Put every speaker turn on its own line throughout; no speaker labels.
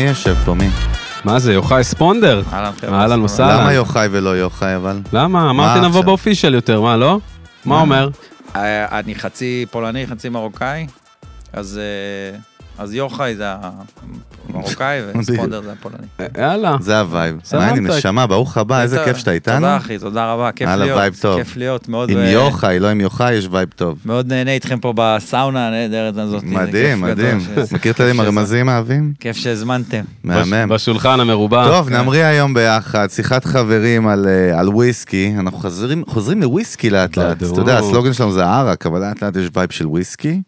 יושב, תומי?
מה זה, יוחאי ספונדר?
אהלן, חבר'ה.
אהלן וסהלן.
למה
אהלן.
למה יוחאי
יוחאי?
ולא יוחאי אבל?
למה? אמרתי נבוא
עכשיו?
באופישל יותר, מה, לא? מה אומר?
אה, אני חצי פולני, חצי מרוקאי, אז אה, אז יוחאי זה המרוקאי וספונדר זה הפולני.
אה, יאללה.
זה הווייב.
סבבה,
מה אני
טוב.
נשמה, ברוך הבא, אה, איזה
תודה-
כיף שאתה איתנו.
תודה, אחי, תודה רבה, כיף
יאללה,
להיות.
וייב טוב.
כיף להיות, מאוד...
עם
אה,
יוחאי, לא עם יוחאי, יש וייב טוב.
מאוד נהנה איתכם פה בסאונה הנהדרת הזאת.
מדהים,
זה כיף
מדהים.
גדול ש-
מכיר את זה עם
שזה-
הרמזים האהבים?
כיף שהזמנתם.
מהמם.
בש- בשולחן
אה,
המרובע.
טוב,
אוקיי.
נמריא היום ביחד, שיחת חברים על, אה, על וויסקי, אנחנו חוזרים, חוזרים לוויסקי לאט לאט,
בדיוק.
אתה יודע, הסלוגן שלנו זה ערק, אבל לאט לאט יש וייב של וויסקי.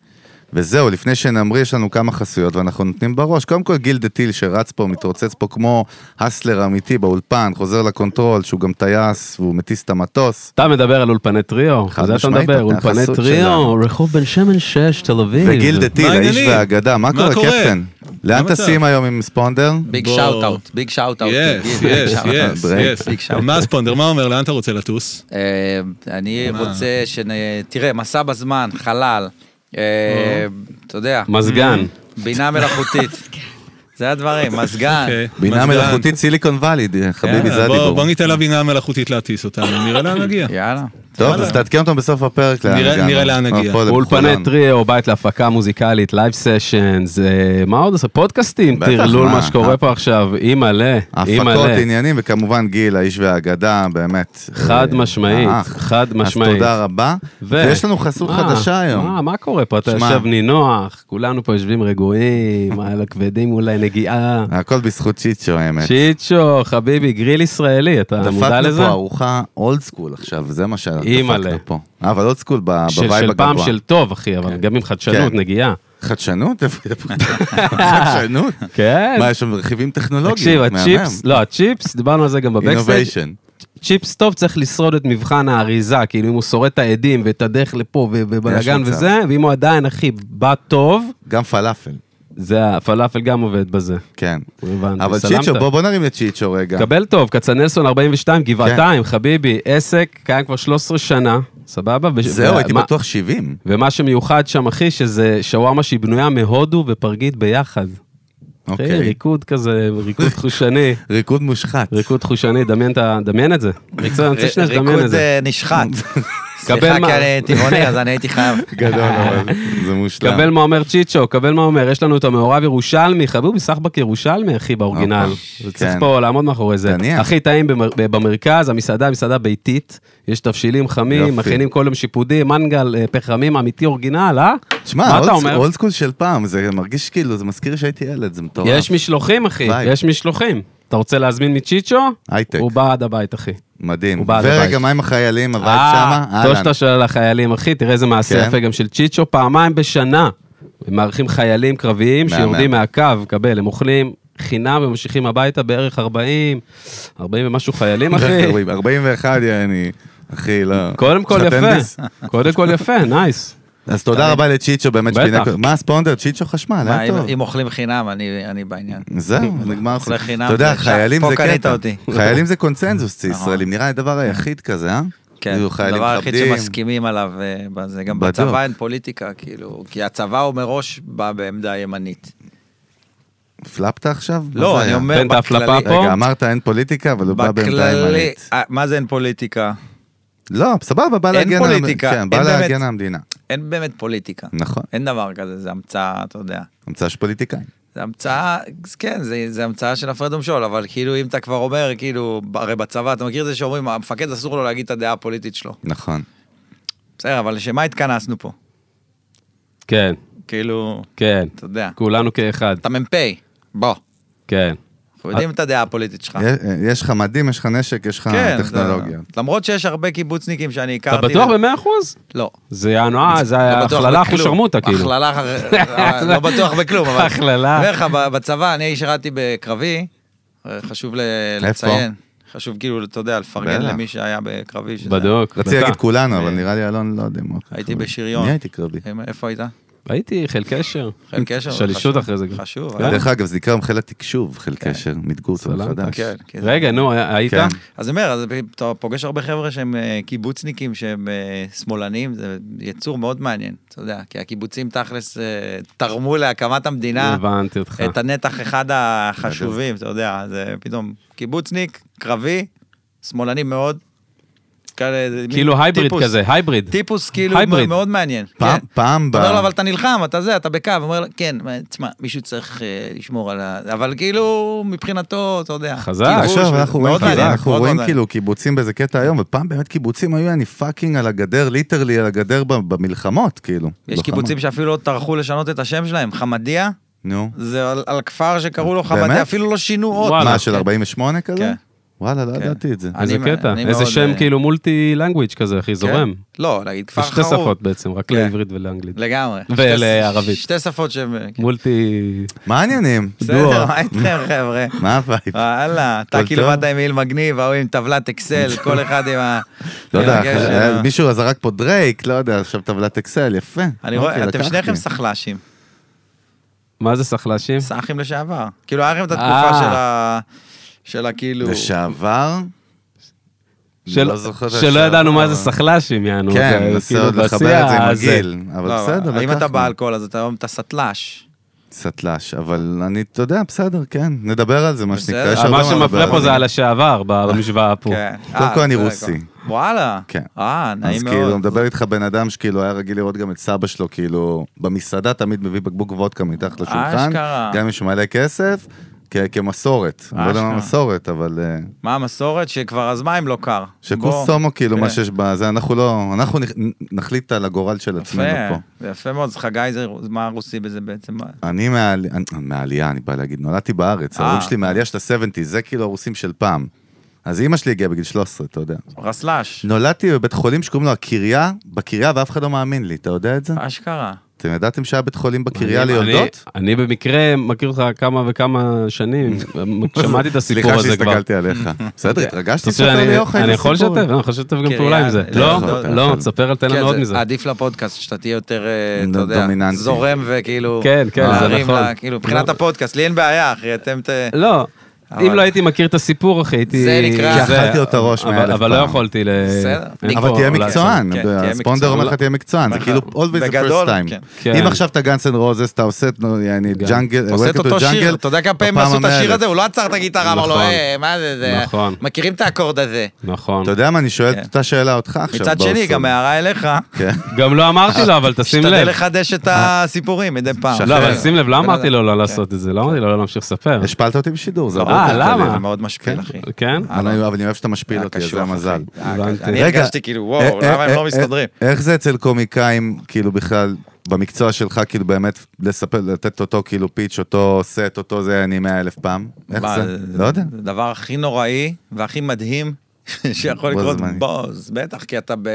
וזהו, לפני שנמריא יש לנו כמה חסויות ואנחנו נותנים בראש. קודם כל גיל דה טיל שרץ פה, מתרוצץ פה כמו הסלר אמיתי באולפן, חוזר לקונטרול, שהוא גם טייס והוא מטיס את המטוס.
אתה מדבר על אולפני טריו,
חד
על זה אתה
משמעית,
מדבר,
אתה
אולפני
החסות
טריו,
שלנו.
רחוב בן שמן 6, תל אביב.
וגיל דה טיל, האיש
העניינים?
והאגדה, מה
מה
קורה
קורה?
קפטן? לאן
מה המצב?
טסים היום עם ספונדר?
ביג
בוא.
שאוט-אוט, ביג שאוט-אוט.
יס, יס, יס,
ביג
יס.
שאוט-אוט.
מה ספונדר, מה אומר, לאן אתה רוצה לטוס?
אה, אני
מה?
רוצה ש... תראה, מסע בזמן, חלל, אה, אתה יודע,
מזגן.
בינה מלאכותית. זה הדברים, מזגן.
אוקיי.
בינה
מזגן.
מלאכותית סיליקון ואלי, די- חביבי,
יאללה,
זה
אה, כן, בוא-
הדיבור.
בוא ניתן לה בינה מלאכותית להטיס אותנו, נראה לאן נגיע.
יאללה.
טוב, אז תעדכן אותם בסוף הפרק. לאן
נראה-
הגענו. אה,
נראה לאן נגיע.
הפועל
אולפני
בחולון.
טריו, בית להפקה מוזיקלית, לייב סשנס, מה עוד עושה? פודקאסטים,
בטח,
טרלול
מה? אה.
מה שקורה פה עכשיו, אי מלא, אי
הפקות,
מלא.
עניינים, וכמובן גיל, האיש והאגדה, באמת.
חד
אה,
משמעית,
האח.
חד משמעית.
אז תודה רבה.
ו-
ויש לנו חסות
מה?
חדשה
מה,
היום.
מה קורה פה? אתה
שמע.
יושב נינוח, כולנו פה יושבים רגועים, על הכבדים אולי נגיעה.
הכל בזכות צ'יצ'ו, האמת.
צ'יצ'ו, חביבי, גריל ישראלי, אתה מודע
דפקנו
לזה?
פה ארוחה אולד סקול עכשיו, זה מה
אימא'לה.
שדפקנו פה. אה, אבל אולד סקול ב-
של,
בווייב
של פעם
הגבוה.
של טוב, אחי, אבל גם עם חדשנות,
כן.
נגיעה.
חדשנות? איפה- חדשנות?
כן.
מה, יש שם רכיבים טכנולוגיים?
תקשיב, לא
מהמם.
הצ'יפס, לא, הצ'יפס, דיברנו על זה גם בבקסטייג',
Innovation.
צ'יפס טוב צריך לשרוד את מבחן האריזה, כאילו אם הוא שורד את העדים ואת הדרך לפה ו- ובלאגן
מצב.
וזה, ואם הוא עדיין, אחי, בא טוב,
גם פלאפל,
זה הפלאפל גם עובד בזה.
כן.
הבנתי,
אבל
סלמת.
צ'יצ'ו, בוא בוא נרים לצ'יצ'ו רגע.
קבל טוב, כצנלסון 42,
כן.
גבעתיים, חביבי, עסק, קיים כבר 13 שנה, סבבה? וש-
זהו,
ומה-
הייתי בטוח 70.
ומה שמיוחד שם, אחי, שזה שווארמה שהיא בנויה מהודו ופרגית ביחד. אחי,
אוקיי.
ריקוד כזה, ריקוד חושני,
ריקוד מושחת.
ריקוד חושני, דמיין את ה- דמיין את זה. אני רוצה אני רוצה שנייה שתדמיין את
ריקוד
זה.
אה, נשחט.
קבל
סליחה,
מה?
כי אני טבעוני, אז אני הייתי חייב.
גדול, אבל זה מושלם.
קבל מה אומר צ'יצ'ו, קבל מה אומר, יש לנו את המעורב ירושלמי, חבובי סחבק ירושלמי, אחי, באורגינל.
אופה,
צריך
כן.
פה לעמוד מאחורי זה.
תניח.
הכי טעים במר- במרכז, המסעדה, מסעדה ביתית, יש תבשילים חמים,
יופי.
מכינים כל יום שיפודים, מנגל, אה, פחמים, אמיתי אורגינל, אה?
תשמע,
מה אתה אומר?
אולד סקול של פעם, זה מרגיש כאילו, זה מזכיר שהייתי ילד, זה מטורף.
יש משלוחים, אחי,
וייב.
יש משלוחים. אתה רוצה להזמין מצ'יצ'ו?
הייטק.
הוא בא עד הבית, אחי.
מדהים.
הוא בא עד
ורגע,
הבית.
מה עם החיילים, הווייב
אה,
שמה?
טוב
אהלן.
שאתה שואל על החיילים, אחי, תראה איזה מעשה
כן.
יפה גם של צ'יצ'ו, פעמיים בשנה. הם מארחים חיילים קרביים
מהמם.
שיורדים מהקו, קבל, הם אוכלים חינם וממשיכים הביתה בערך 40, 40 ומשהו חיילים, אחי.
41, אוקיי, יעני. אחי, לא.
קודם כל
שתן ביס.
יפה, קודם כל יפה, נייס.
אז תודה רבה לצ'יצ'ו, באמת
בטח.
שפינה... מה הספונדר? צ'יצ'ו חשמל,
מה,
היה
אם-
טוב.
אם אוכלים חינם, אני אני בעניין.
זהו, נגמר.
אצלך חינם,
אתה יודע,
זה-
חיילים
פה
זה
קנית
קטע.
אותי.
חיילים זה קונצנזוס
נכון.
ישראלים, נראה הדבר היחיד כזה, אה?
כן,
כאילו, חיילים
הדבר היחיד
מכבדים.
שמסכימים עליו, אה, בזה. גם
בדיוק.
בצבא אין פוליטיקה, כאילו, כי הצבא הוא מראש בא בעמדה ימנית.
הפלפת עכשיו? מה זה
לא, אני
היה?
אומר
תן את ההפלפה
בכללי.
פה.
רגע, אמרת אין פוליטיקה, אבל הוא בא בעמדה
בכללי,
ימנית.
אה, מה זה אין פוליטיקה?
לא, סבבה, בא
אין
להגן על...
פוליטיקה,
כן,
אין
בא
באמת.
להגן על המדינה.
אין באמת פוליטיקה.
נכון.
אין דבר כזה, זה המצאה, אתה יודע.
המצאה של פוליטיקאים.
זה המצאה, כן, זה, זה המצאה של הפרד ומשול, אבל כאילו, אם אתה כבר אומר, כאילו, הרי בצבא, אתה מכיר את זה שאומרים, המפקד אסור לו להגיד את הדעה הפוליטית שלו.
נכון.
בסדר, אבל לשם מה התכנסנו פה?
כן,
כאילו,
כן,
אתה יודע,
כולנו כאחד,
אתה מ"פ, בוא,
כן.
אנחנו יודעים את הדעה הפוליטית שלך.
אה, יש- יש לך מדים, יש לך נשק, יש לך
אה. כן,
טכנולוגיה.
אתה- למרות שיש הרבה קיבוצניקים שאני
אתה
הכרתי.
בטוח במאה אחוז?
לא.
זה יענוע, זה
לא בטוח
אה, הכללה
בכלום.
אחושרמוטה, כאילו.
הכללה, אה, לא בטוח בכלום, אבל...
הכללה.
אני אומר לך, ב- בצבא, אני שירתי בקרבי, אה, חשוב ל-
איפה?
לציין. חשוב כאילו, אתה יודע, לפרגן
בטח.
למי שהיה בקרבי. שזה-
בדוק.
רציתי
דקה.
להגיד כולנו, אבל נראה לי אלון לא יודע מה.
אה. הייתי בשריון.
אני הייתי קרבי.
אה, איפה היית?
הייתי חיל קשר.
חיל קשר.
שלישות
חשוב.
אחרי זה גם.
חשוב.
כן.
אה?
דרך אגב, זה נקרא מחיל התקשוב, חיל קשר, מיתגו אותו
סלמת.
מחדש.
כן. כן.
רגע, נו, היה- היית?
כן.
אז אני אומר, אז אתה פוגש הרבה חבר'ה שהם אה, קיבוצניקים, שהם אה, שמאלנים, זה יצור מאוד מעניין, אתה יודע, כי הקיבוצים תכלס אה, תרמו להקמת המדינה
הבנתי אותך.
את הנתח אחד החשובים, אתה יודע, זה פתאום קיבוצניק, קרבי, שמאלני מאוד. כאלה, זה מין
כאילו הייבריד
טיפוס.
כזה, הייבריד.
טיפוס כאילו
הייבריד.
מאוד מעניין.
פעם-
כן.
פעם ב...
אתה אומר לו, אבל אתה נלחם, אתה זה, אתה בקו, אומר לו, כן, מה, תשמע, מישהו צריך אה, לשמור על ה... אבל כאילו, מבחינתו, אתה יודע.
חזק.
כיבוש,
אה, עכשיו אנחנו רואים,
מאוד
כאילו,
מעניין,
אנחנו
מאוד
רואים
מעניין.
כאילו קיבוצים באיזה קטע היום, ופעם באמת קיבוצים היו אני פאקינג על הגדר, ליטרלי על הגדר ב- במלחמות, כאילו.
יש
לוחמה.
קיבוצים שאפילו לא טרחו לשנות את השם שלהם, חמדיה,
נו.
זה על, על כפר שקראו לו
באמת?
חמדיה, אפילו לא שינו אות.
וואלה.
מה, של 48 כזה?
כן.
וואלה, לא
כן.
ידעתי את זה.
אני
איזה
מ-
קטע,
אני
איזה
מאוד,
שם
אה,
כאילו מולטי language כזה, אחי,
כן.
זורם.
לא, להגיד
זה
כפר
שתי
חרוב.
שפות בעצם, רק
כן.
לעברית ולאנגלית.
לגמרי.
ולערבית.
שתי, שתי שפות שהם... כן.
מולטי...
מה העניינים?
בסדר, אה, מה איתכם חבר'ה?
מה הווייב?
וואלה, אתה
הכל
כאילו
טוב?
באת עם מעיל מגניב, ההוא עם טבלת אקסל, כל אחד עם ה...
לא
עם
יודע,
הגשר
אחרי-
שלו.
מישהו זרק פה דרייק, לא יודע, עכשיו טבלת אקסל, יפה.
אני
אוקיי,
רואה, אתם
לקחתי.
שניכם סחל"שים,
מה זה סחל"שים?
סאחים לשעבר. כאילו, היה לכם את
אה.
התקופה של ה... כאילו- של הכאילו...
לשעבר?
של-
לא זוכר את
שלא
השם,
ידענו מה
אבל-
זה סחל"שים, יענו.
כן,
זה
מנסה
כאילו
עוד לחבר
בשיח
את זה עם
הזה.
הגיל, אבל
לא,
בסדר,
אם אתה
לקחנו.
באלכוהול, אז אתה אתה סטל"ש.
סטל"ש, אבל אני, אתה יודע, בסדר, כן, נדבר על זה, מה
בסדר.
שנקרא, יש
אה,
הרבה
מה
לדבר
שמפריע
על
פה זה על השעבר, במשוואה פה.
כן.
קודם
אה,
כל אני
זה
רוסי.
הכל. וואלה.
כן.
אה,
אז
נעים
כאילו,
מאוד.
מדבר איתך בן אדם שכאילו היה רגיל לראות גם את סבא שלו, כאילו, במסעדה תמיד מביא בקבוק וודקה מתחת לשולחן,
אשכרה.
גם אם יש מלא כסף, כ- כמסורת. אני לא יודע מה
אשכרה.
מסורת, אבל... אה,
מה המסורת? שכבר אז מים לא קר.
שכוס
בוא.
סומו, כאילו, מה
כן.
שיש בזה, אנחנו לא, אנחנו נכ- נחליט על הגורל של עצמנו פה.
יפה, יפה מאוד, אז חגי זה, מה הרוסי בזה בעצם? מה-
אני מהעלי- אני- מהעלייה, אני בא להגיד, נולדתי בארץ,
אה.
ההורים שלי מהעלייה של ה-70, זה כאילו הרוסים של פעם. אז אימא שלי הגיעה בגיל 13, אתה יודע.
רסל"ש,
נולדתי בבית חולים שקוראים לו הקריה, בקריה ואף אחד לא מאמין לי, אתה יודע את זה?
אשכרה.
אתם ידעתם שהיה בית חולים בקריה
אני-
ליולדות?
אני אני במקרה מכיר אותך כמה וכמה שנים, שמעתי את הסיפור
סליחה
הזה כבר.
שהסתכלתי עליך. בסדר, התרגשתי
אתה חושב
לספר לי
לא
שאני-
יוחאי,
אני
זה
יכול
סיפור.
לשתף, אני יכול לשתף גם
קריה,
פעולה עם זה.
אתה
לא,
יכול, אתה
לא,
יכול.
תספר, תן
כן,
לנו עוד
זה-
מזה.
עדיף לפודקאסט שאתה תהיה יותר, אה, אתה
נו,
יודע,
דומיננטי.
זורם וכאילו,
כן, כן, זה
להרים
נכון.
לה- כאילו, מבחינת
לא.
הפודקאסט, לי אין בעיה, אחי, אתם ת...
לא,
אבל-
אם לא הייתי מכיר את הסיפור, אחי, הייתי...
זה נקרא-
זה-
כי אכלתי אותה ראש
אבל-
מאלף
אבל לא
פעם.
יכולתי ל...
בסדר.
אין
אבל
פה-
תהיה
אולי-
מקצוען,
כן, תהיה
הספונדר
מקצוען.
אומר לך תהיה מקצוען, זה
נכון.
כאילו always the first
בגדול,
time.
כן.
כן.
אם עכשיו אתה גאנס אנד רוזס, אתה עושה את נו, יעני,
גם.
ג'אנגל,
אתה עושה את
Welcome to
אותו שיר,
Jungle,
אתה יודע כמה פעמים
בפעם
עשו את השיר
המאה
הזה, הוא לא עצר את הגיטרה, אמר לו,
נכון.
"אה, מה זה, זה,
נכון.
מכירים את האקורד הזה.
נכון.
אתה יודע מה, אני שואל את
כן.
אותה שאלה אותך עכשיו.
מצד שני,
באוסם.
גם הערה אליך,
כן.
גם לא אמרתי לו, אבל תשים
תשתדל
לב. אה,
לחדש את הסיפורים מדי פעם.
שחרר.
לא, אבל שים לב, לא
אתה לא
אמרתי
יודע.
לו לא לעשות את זה, לא אמרתי לו לא להמשיך לספר.
השפלת אותי בשידור, זה
לא,
הרבה
אה,
יותר
למה?
קליל.
זה מאוד משפיל, אחי.
כן?
אה,
אני- אבל אני אוהב שאתה משפיל
היה
אותי, אז
אה, קשוח,
זה המזל.
אחי.
הבנתי.
היה קשוח. אני
רגע,
הרגשתי כאילו,
אה,
וואו,
אה,
למה הם
אה,
לא מסתדרים?
אה, איך זה אצל קומיקאים, כאילו בכלל, במקצוע שלך, כאילו באמת, לספר, לתת אותו כאילו פיץ', אותו סט, אותו זה, אני מאה אלף פעם? איך
מה, אה,
זה? לא יודע.
זה הדבר הכי נוראי והכי מדהים שיכול
בו
לקרות
זמנית.
בוז, בטח, כי אתה ב...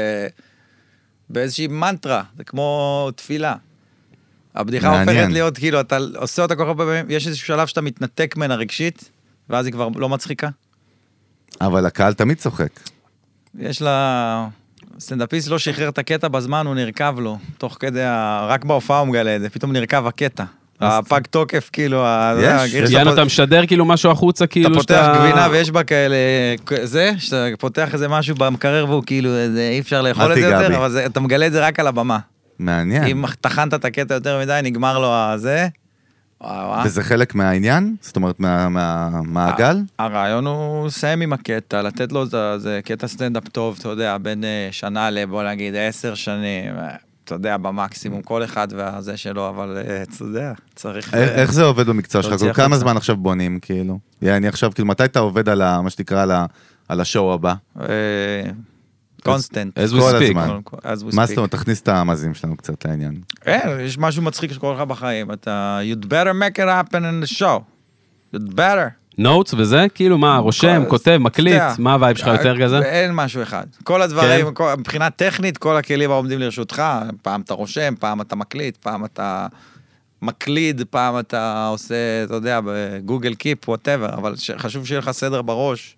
באיזושהי מנטרה, זה כמו תפילה. הבדיחה
מעניין.
הופכת להיות, כאילו, אתה עושה אותה כל כך הרבה פעמים, יש איזשהו שלב שאתה מתנתק ממנה רגשית, ואז היא כבר לא מצחיקה.
אבל הקהל תמיד צוחק.
יש לה... סטנדאפיסט לא שחרר את הקטע בזמן, הוא נרקב לו. תוך כדי ה... רק בהופעה הוא מגלה את זה, פתאום נרקב הקטע. הפג תוקף, כאילו, ה-
יש,
הגריר
יש.
שאתה
יאנו,
פה-
אתה משדר כאילו משהו החוצה, כאילו
אתה
שאתה...
פותח גבינה ויש בה כאלה, זה, שאתה פותח איזה משהו במקרר והוא כאילו, זה, אי אפשר
אל
לאכול את זה
תיגע בי. כן.
יותר, אבל זה, אתה מגלה את זה רק על הבמה.
מעניין.
אם טחנת את הקטע יותר מדי, נגמר לו הזה. וואו, אה, וואו.
וזה חלק מהעניין? זאת אומרת, מה- מהמעגל?
אה, הרעיון הוא לסיים עם הקטע, לתת לו את ה- זה קטע סטנדאפ טוב, אתה יודע, בין אה, שנה לבוא נגיד עשר שנים, אה, אתה יודע, במקסימום, כל אחד והזה שלו, אבל אה, אתה יודע,
איך
צריך...
אה, איך זה עובד במקצוע שלך?
להוציא
כל כמה
החוצה.
זמן עכשיו בונים, כאילו? יעני עכשיו, כאילו, מתי אתה עובד על ה- מה שנקרא, על ה- על השואו הבא?
אה, קונסטנט.
as we
כל
speak.
הזמן.
אז הוא
מה זאת אומרת, תכניס את המאזינים שלנו קצת לעניין.
כן, יש משהו מצחיק שקורה לך בחיים, אתה, you'd better make it happen in the show. you'd better.
נוטס וזה? כאילו מה, רושם,
כל-
כותב, מקליט,
אתה יודע.
מה הווייב שלך יותר כזה?
אין משהו אחד. כל
כן.
הדברים, כל- מבחינה טכנית, כל הכלים העומדים לרשותך, פעם אתה רושם, פעם אתה מקליט, פעם אתה מקליד, פעם אתה עושה, אתה יודע, בגוגל קיפ, וואטאבר, אבל ש- חשוב שיהיה לך סדר בראש.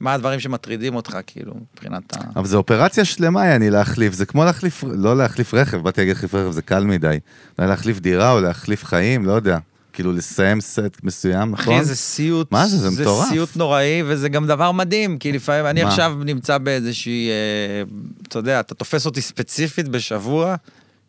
מה הדברים שמטרידים אותך, כאילו, מבחינת ה...
אבל זו אופרציה שלמה, יעני, להחליף. זה כמו להחליף, לא להחליף רכב, באתי להגיד להחליף רכב זה קל מדי. אולי להחליף דירה או להחליף חיים, לא יודע. כאילו לסיים סט מסוים, נכון?
אחי, זה סיוט,
מה זה? זה מטורף.
זה סיוט נוראי, וזה גם דבר מדהים, כי לפעמים, אני
מה?
עכשיו נמצא באיזושהי, אה, אתה יודע, אתה תופס אותי ספציפית בשבוע,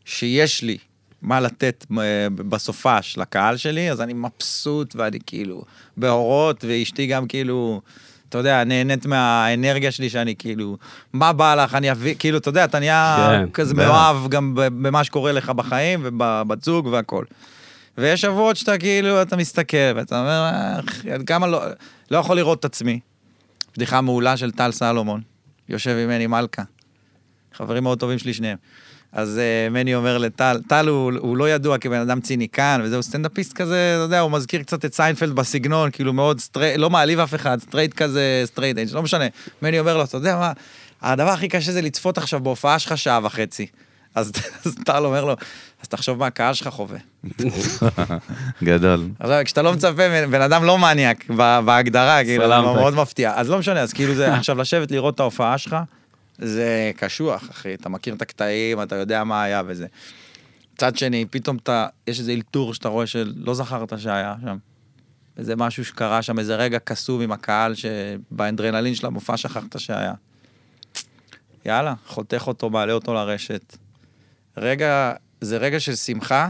שיש לי מה לתת אה, בסופש לקהל שלי, אז אני מבסוט, ואני כאילו באורות, ואשתי גם כאילו... אתה יודע, נהנית מהאנרגיה שלי שאני כאילו, מה בא לך, אני אביא, כאילו, אתה יודע, אתה נהיה
כן,
כזה
בטח.
מאוהב גם ב- במה שקורה לך בחיים ובבת זוג והכל. ויש שבועות שאתה כאילו, אתה מסתכל, ואתה אומר, "אך, עד כמה לא, לא יכול לראות את עצמי. בדיחה מעולה של טל סלומון, יושב עם מני מלכה. חברים מאוד טובים שלי שניהם. אז uh, מני אומר לטל, טל הוא, הוא לא ידוע כבן אדם ציניקן, וזהו סטנדאפיסט כזה, אתה יודע, הוא מזכיר קצת את סיינפלד בסגנון, כאילו מאוד סטרייט, לא מעליב אף אחד, סטרייט כזה, סטרייט אינג', לא משנה. מני אומר לו, אתה יודע מה, הדבר הכי קשה זה לצפות עכשיו בהופעה שלך שעה וחצי. אז, אז טל אומר לו, אז תחשוב מה הקהל שלך חווה.
גדול.
עכשיו, כשאתה לא מצפה, מ- בן אדם לא מניאק ב- בהגדרה, כאילו, זה
סלמת.
מאוד מפתיע. אז לא משנה, אז כאילו זה, עכשיו לשבת לראות את ההופעה שלך, זה קשוח, אחי, אתה מכיר את הקטעים, אתה יודע מה היה וזה. מצד שני, פתאום אתה, יש איזה אלתור שאתה רואה שלא זכרת שהיה שם. איזה משהו שקרה שם, איזה רגע קסום עם הקהל, שבאנדרנלין של המופע שכחת שהיה. יאללה, חותך אותו, מעלה אותו לרשת. רגע, זה רגע של שמחה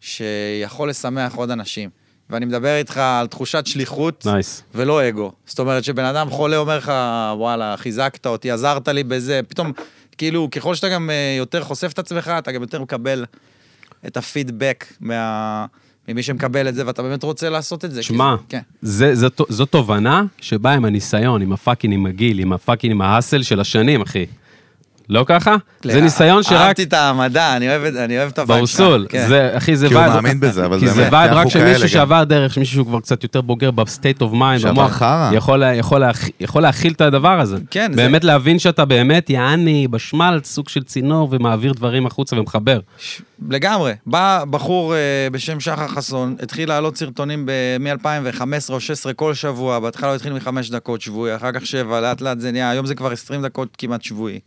שיכול לשמח עוד אנשים. ואני מדבר איתך על תחושת שליחות
נייס.
ולא אגו. זאת אומרת שבן אדם חולה אומר לך, וואלה, חיזקת אותי, עזרת לי בזה, פתאום, כאילו, ככל שאתה גם אה, יותר חושף את עצמך, אתה גם יותר מקבל את הפידבק מה... ממי שמקבל את זה, ואתה באמת רוצה לעשות את זה. כי
שמע,
זה- כן.
זה- זה ת- זו תובנה שבאה עם הניסיון, עם הפאקינג, עם הגיל, עם הפאקינג, עם ההאסל של השנים, אחי. לא ככה? זה
לא,
ניסיון שרק...
אהבתי את המדע, אני אוהב את אני אוהב את הווייב
ברסול,
כן.
זה, אחי, זה
כי הוא
וייב-
מאמין בזה, אבל
כי זה
באמת,
וייב רק
אנחנו
של
כאלה
מישהו
גם.
שעבר דרך, מישהו שהוא כבר קצת יותר בוגר בסטייט אוף מיינד,
שעבר חרא.
יכול, לה- יכול, להכ- יכול להכיל את הדבר הזה.
כן, זה-
באמת להבין שאתה באמת יעני בשמל, סוג של צינור, ומעביר דברים החוצה ומחבר.
ש- לגמרי. בא בחור אה, בשם שחר חסון, התחיל להעלות סרטונים ב- מ-2015 או 2016 כל שבוע, בהתחלה הוא התחיל מחמש דקות שבועי, אחר כך שבע, לאט לאט זה נהיה, היום זה כבר 20 דקות כמעט שבועי.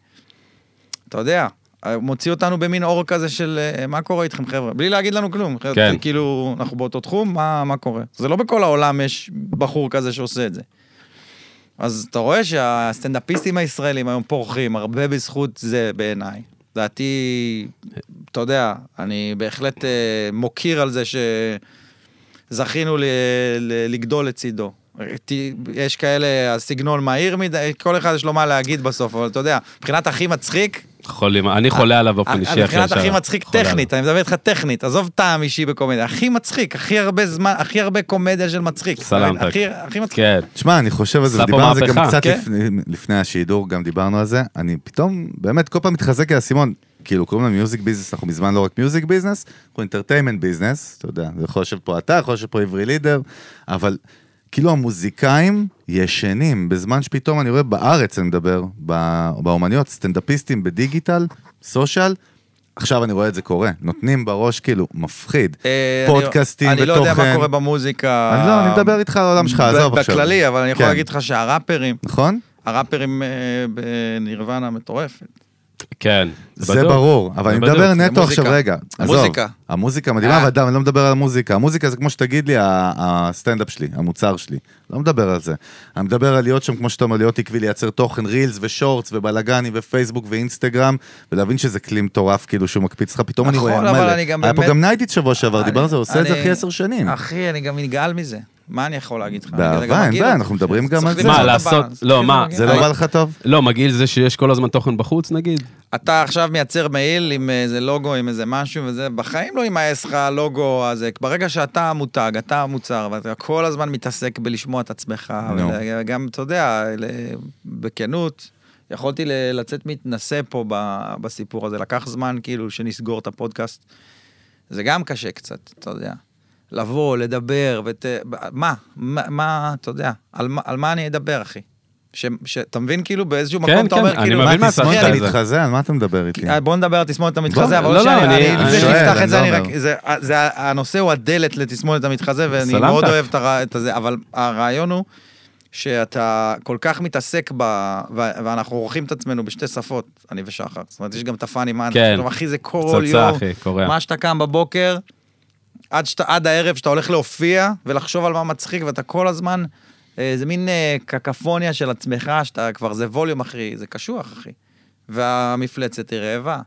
אתה יודע, אה, מוציא אותנו במין אור כזה של אה, מה קורה איתכם חבר'ה, בלי להגיד לנו כלום.
כן.
כן. כאילו, אנחנו באותו תחום, מה, מה קורה? זה לא בכל העולם יש בחור כזה שעושה את זה. אז אתה רואה שהסטנדאפיסטים הישראלים היום פורחים, הרבה בזכות זה בעיניי. דעתי, אתה יודע, אני בהחלט אה, מוקיר על זה שזכינו ל- ל- לגדול לצידו. ת- יש כאלה, הסגנון מהיר מדי, כל אחד יש לו מה להגיד בסוף, אבל אתה יודע, מבחינת הכי מצחיק,
חולים, אני חולה עליו באופן אישי, אחי.
מבחינת
ישר.
הכי מצחיק
חולה
טכנית, אני מדבר איתך טכנית, עזוב טעם אישי בקומדיה, הכי מצחיק, הכי הרבה זמן, הכי הרבה קומדיה של מצחיק.
סלמת.
הכי- הכי מצחיק.
עליו. כן.
תשמע, אני חושב על זה,
עשה פה
ודיברנו על זה גם
מהפכה.
קצת
כן.
לפני, לפני השידור, גם דיברנו על זה. אני פתאום, באמת, כל פעם מתחזק על האסימון. כאילו, קוראים לנו מיוזיק ביזנס, אנחנו מזמן לא רק מיוזיק ביזנס, אנחנו אינטרטיימנט ביזנס, אתה יודע, יכול לשבת פה אתה, יכול לשבת פה עברי לידר, אבל כאילו המוזיקאים ישנים, בזמן שפתאום אני רואה בארץ, אני מדבר, בא- באומניות, סטנדאפיסטים בדיגיטל, סושיאל, עכשיו אני רואה את זה קורה, נותנים בראש כאילו, מפחיד,
אה, אני-
פודקאסטים ותוכן.
אני לא יודע מה קורה במוזיקה.
אני לא, אני מדבר איתך על העולם שלך,
ב-
עזוב עכשיו.
בכללי, אבל אני יכול
כן.
להגיד לך שהראפרים,
נכון?
הראפרים אה, בנירוונה מטורפת.
כן.
זה
בדוק.
ברור, אבל אני
בדוק.
מדבר
זה
נטו
מוזיקה.
עכשיו, רגע, עזוב,
מוזיקה.
המוזיקה מדהימה,
אה.
אבל אדם, אני לא מדבר על המוזיקה, המוזיקה זה כמו שתגיד לי, ה- הסטנדאפ שלי, המוצר שלי, לא מדבר על זה, אני מדבר על להיות שם, כמו שאתה אומר, להיות עקבי, לייצר תוכן, רילס ושורטס ובלאגנים ופייסבוק ואינסטגרם, ולהבין שזה כלי מטורף, כאילו שהוא מקפיץ לך, פתאום אני
נכון,
רואה
אבל
מלא,
אני גם
היה פה
באמת-
גם נייטית שבוע שעבר,
אני-
דיברנו על זה, עושה את זה
אני-
אחי עשר שנים,
אחי, אני גם נגעל מזה. מה אני יכול להגיד לך? אני גם
באהבה, אין
מגעיל.
בעיה, אנחנו מדברים גם על
צריך
זה,
למצוא
מה,
את
לעשות-
הבאלנס.
לא,
כאילו,
מה,
מגעיל.
זה לא בא לך טוב?
לא, מגעיל זה שיש כל הזמן תוכן בחוץ, נגיד.
אתה עכשיו מייצר מעיל עם איזה לוגו, עם איזה משהו וזה, בחיים לא יימאס לך הלוגו הזה. ברגע שאתה המותג, אתה המוצר, ואתה כל הזמן מתעסק בלשמוע את עצמך,
נו.
וגם, אתה יודע, ל- בכנות, יכולתי ל- לצאת מתנשא פה ב- בסיפור הזה. לקח זמן, כאילו, שנסגור את הפודקאסט. זה גם קשה קצת, אתה יודע. לבוא, לדבר, ות... מה? מה, מה אתה יודע, על מה, על מה אני אדבר, אחי? ש... ש... אתה מבין, כאילו, באיזשהו
כן,
מקום אתה
כן,
אומר,
אני
כאילו...
מבין מה אתה
אחי,
תסמונת
אני
על זה.
המתחזה, על מה אתה מדבר איתי?
אה, בוא נדבר על תסמונת המתחזה, אבל
כן. לא,
עוד
לא,
שנייה,
אני-
אני- לפני
אני
שנפתח
שואל,
את זה,
אני
אני
לא
רק,
אומר.
זה- זה- הנושא הוא הדלת לתסמונת המתחזה, ואני
סלמת.
מאוד אוהב את הר- את הזה, אבל הרעיון הוא שאתה כל כך מתעסק ב... ו- ואנחנו עורכים את עצמנו בשתי שפות, אני ושחר. זאת אומרת, יש גם את הפאני מאנד,
כן.
כאילו, אחי, זה כל
פצצה,
יום.
אחי, קורע.
מה שאתה קם בבוקר, עד, שאתה, עד הערב שאתה הולך להופיע ולחשוב על מה מצחיק, ואתה כל הזמן, אה, זה מין אה, קקפוניה של עצמך, שאתה כבר, זה ווליום, אחי, זה קשוח, אחי. והמפלצת היא רעבה.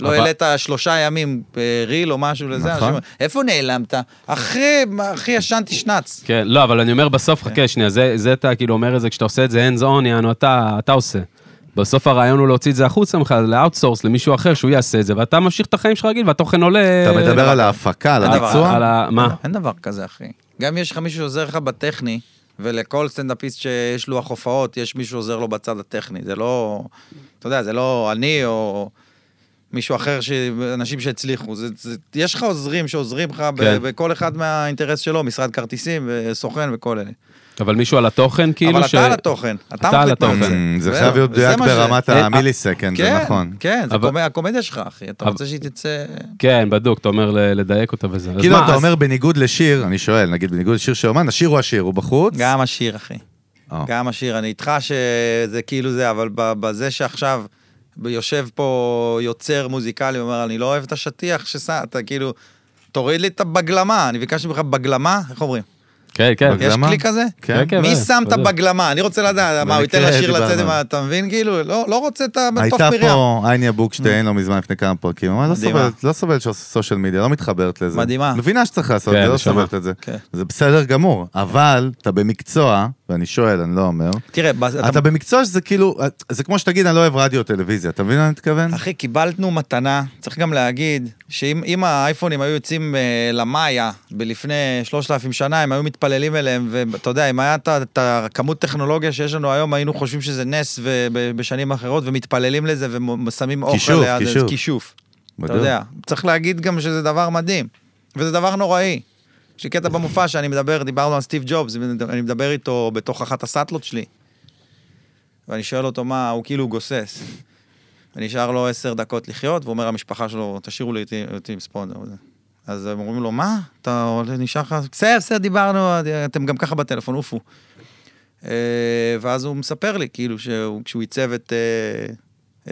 לא
אבל-
העלית שלושה ימים אה, ריל או משהו לזה,
נכון.
אנשים אומרים, איפה נעלמת? אחי, מה- אחי, ישנתי שנץ.
כן, לא, אבל אני אומר בסוף, חכה שנייה, זה, זה אתה כאילו אומר את זה, כשאתה עושה את זה hands on, יענו, אתה, אתה עושה. בסוף הרעיון הוא להוציא את זה החוצה ממך, לאאוטסורס, למישהו אחר, שהוא יעשה את זה, ואתה ממשיך את החיים שלך רגיל, והתוכן עולה...
אתה מדבר על ההפקה, על
אין דבר.
הביצוע?
על ה... מה?
אין דבר כזה, אחי. גם יש לך מישהו שעוזר לך בטכני, ולכל סטנדאפיסט שיש לוח הופעות, יש מישהו שעוזר לו בצד הטכני. זה לא... אתה יודע, זה לא אני או מישהו אחר, ש... אנשים שהצליחו. זה, זה... יש לך עוזרים שעוזרים לך
כן.
כן. בכל אחד מהאינטרס שלו, משרד כרטיסים וסוכן וכל אלה.
אבל מישהו על התוכן, כאילו
אבל
ש...
אתה על התוכן, אתה
אתה על
מחליט מה
התוכן.
זה.
Mm, זה
זהו,
חייב להיות
וזה
מדויק
מה ש-
ברמת
אה,
המיליסקנד, זה
כן,
נכון.
כן, זה
אבל-
קומדיה- הקומדיה שלך, אחי. אתה
אבל-
רוצה שהיא תצא...
כן, בדוק, אתה אומר ל- לדייק אותה וזה. אז
כאילו
מה,
אתה
אז-
אומר בניגוד לשיר, אני שואל, נגיד בניגוד לשיר של אומן, השיר הוא השיר, הוא בחוץ.
גם השיר, אחי.
אה.
גם השיר, אני איתך שזה כאילו זה, אבל ב- בזה שעכשיו יושב פה יוצר מוזיקלי, אומר, אני לא אוהב את השטיח ששם, אתה כאילו, תוריד לי את הבגלמה, אני ביקשתי ממך בגלמה, איך אומרים?
כן, כן.
בגלל-
יש
בגלמה?
כלי כזה?
כן.
כן,
מי
בטח,
שם את
בטח.
הבגלמה? אני רוצה לדעת, מה, הוא ייתן
במקרה
לשיר לצאת
דיברנו.
עם ה... אתה מבין? כאילו, לא לא רוצה את המטוף
הייתה
מרים.
פה אניה בוקשטיין לא מזמן, לפני כמה פרקים, אמרה, לא
Mm. מדהימה.
סובלת, לא סובלת של סושיאל מדיה, לא מתחברת לזה.
מדהימה.
מבינה שצריך לעשות את
כן,
זה, לא
נשמה.
סובלת את זה.
כן.
זה בסדר גמור, אבל אתה במקצוע, ואני שואל, אני לא אומר,
תראה, ב- אתה-
אתה במקצוע שזה כאילו, זה כמו שתגיד, אני לא אוהב רדיו טלוויזיה, אתה מבין מה אני מתכוון?
אחי, קיבלנו מתנה, צריך גם להגיד, שאם אם האייפונים היו יוצאים אה, למאיה בלפני 3,000 שנה, הם היו מתפללים אליהם, ואתה יודע, אם היה את ה- את הכמות טכנולוגיה שיש לנו היום, היינו חושבים שזה נס ובשנים אחרות, ומתפללים לזה ושמים אוכל
כישוף,
ליד, אז
כישוף.
כישוף. אתה
בדיוק.
יודע, צריך להגיד גם שזה דבר מדהים, וזה דבר נוראי. יש לי קטע במופע שאני מדבר, דיברנו על סטיב ג'ובס, אני מדבר איתו בתוך אחת הסאטלות שלי, ואני שואל אותו מה, הוא כאילו גוסס. ונשאר לו עשר דקות לחיות, והוא אומר למשפחה שלו, תשאירו לי אותי- אותי עם ספונדר. וזה. אז הם אומרים לו, מה? אתה עולה, נשאר לך... בסדר, בסדר, דיברנו, אתם גם ככה בטלפון, עופו. אה, ואז הוא מספר לי, כאילו, שהוא- כשהוא עיצב את, אה,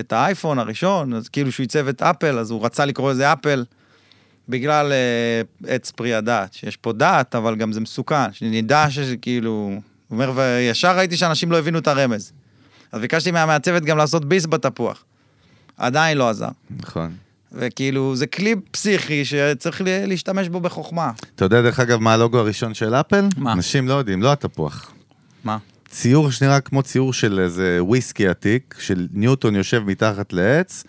את האייפון הראשון, אז כאילו שהוא עיצב את אפל, אז הוא רצה לקרוא לזה אפל, בגלל אה, עץ פרי הדעת, שיש פה דעת, אבל גם זה מסוכן, שנדע שכאילו... הוא אומר, וישר ראיתי שאנשים לא הבינו את הרמז. אז ביקשתי מהמעצבת גם לעשות ביס בתפוח. עדיין לא עזר.
נכון.
וכאילו, זה כלי פסיכי שצריך ל- להשתמש בו בחוכמה.
אתה יודע, דרך אגב, מה הלוגו הראשון של אפל?
מה?
אנשים לא יודעים, לא התפוח.
מה?
ציור שנראה כמו ציור של איזה וויסקי עתיק, של ניוטון יושב מתחת לעץ,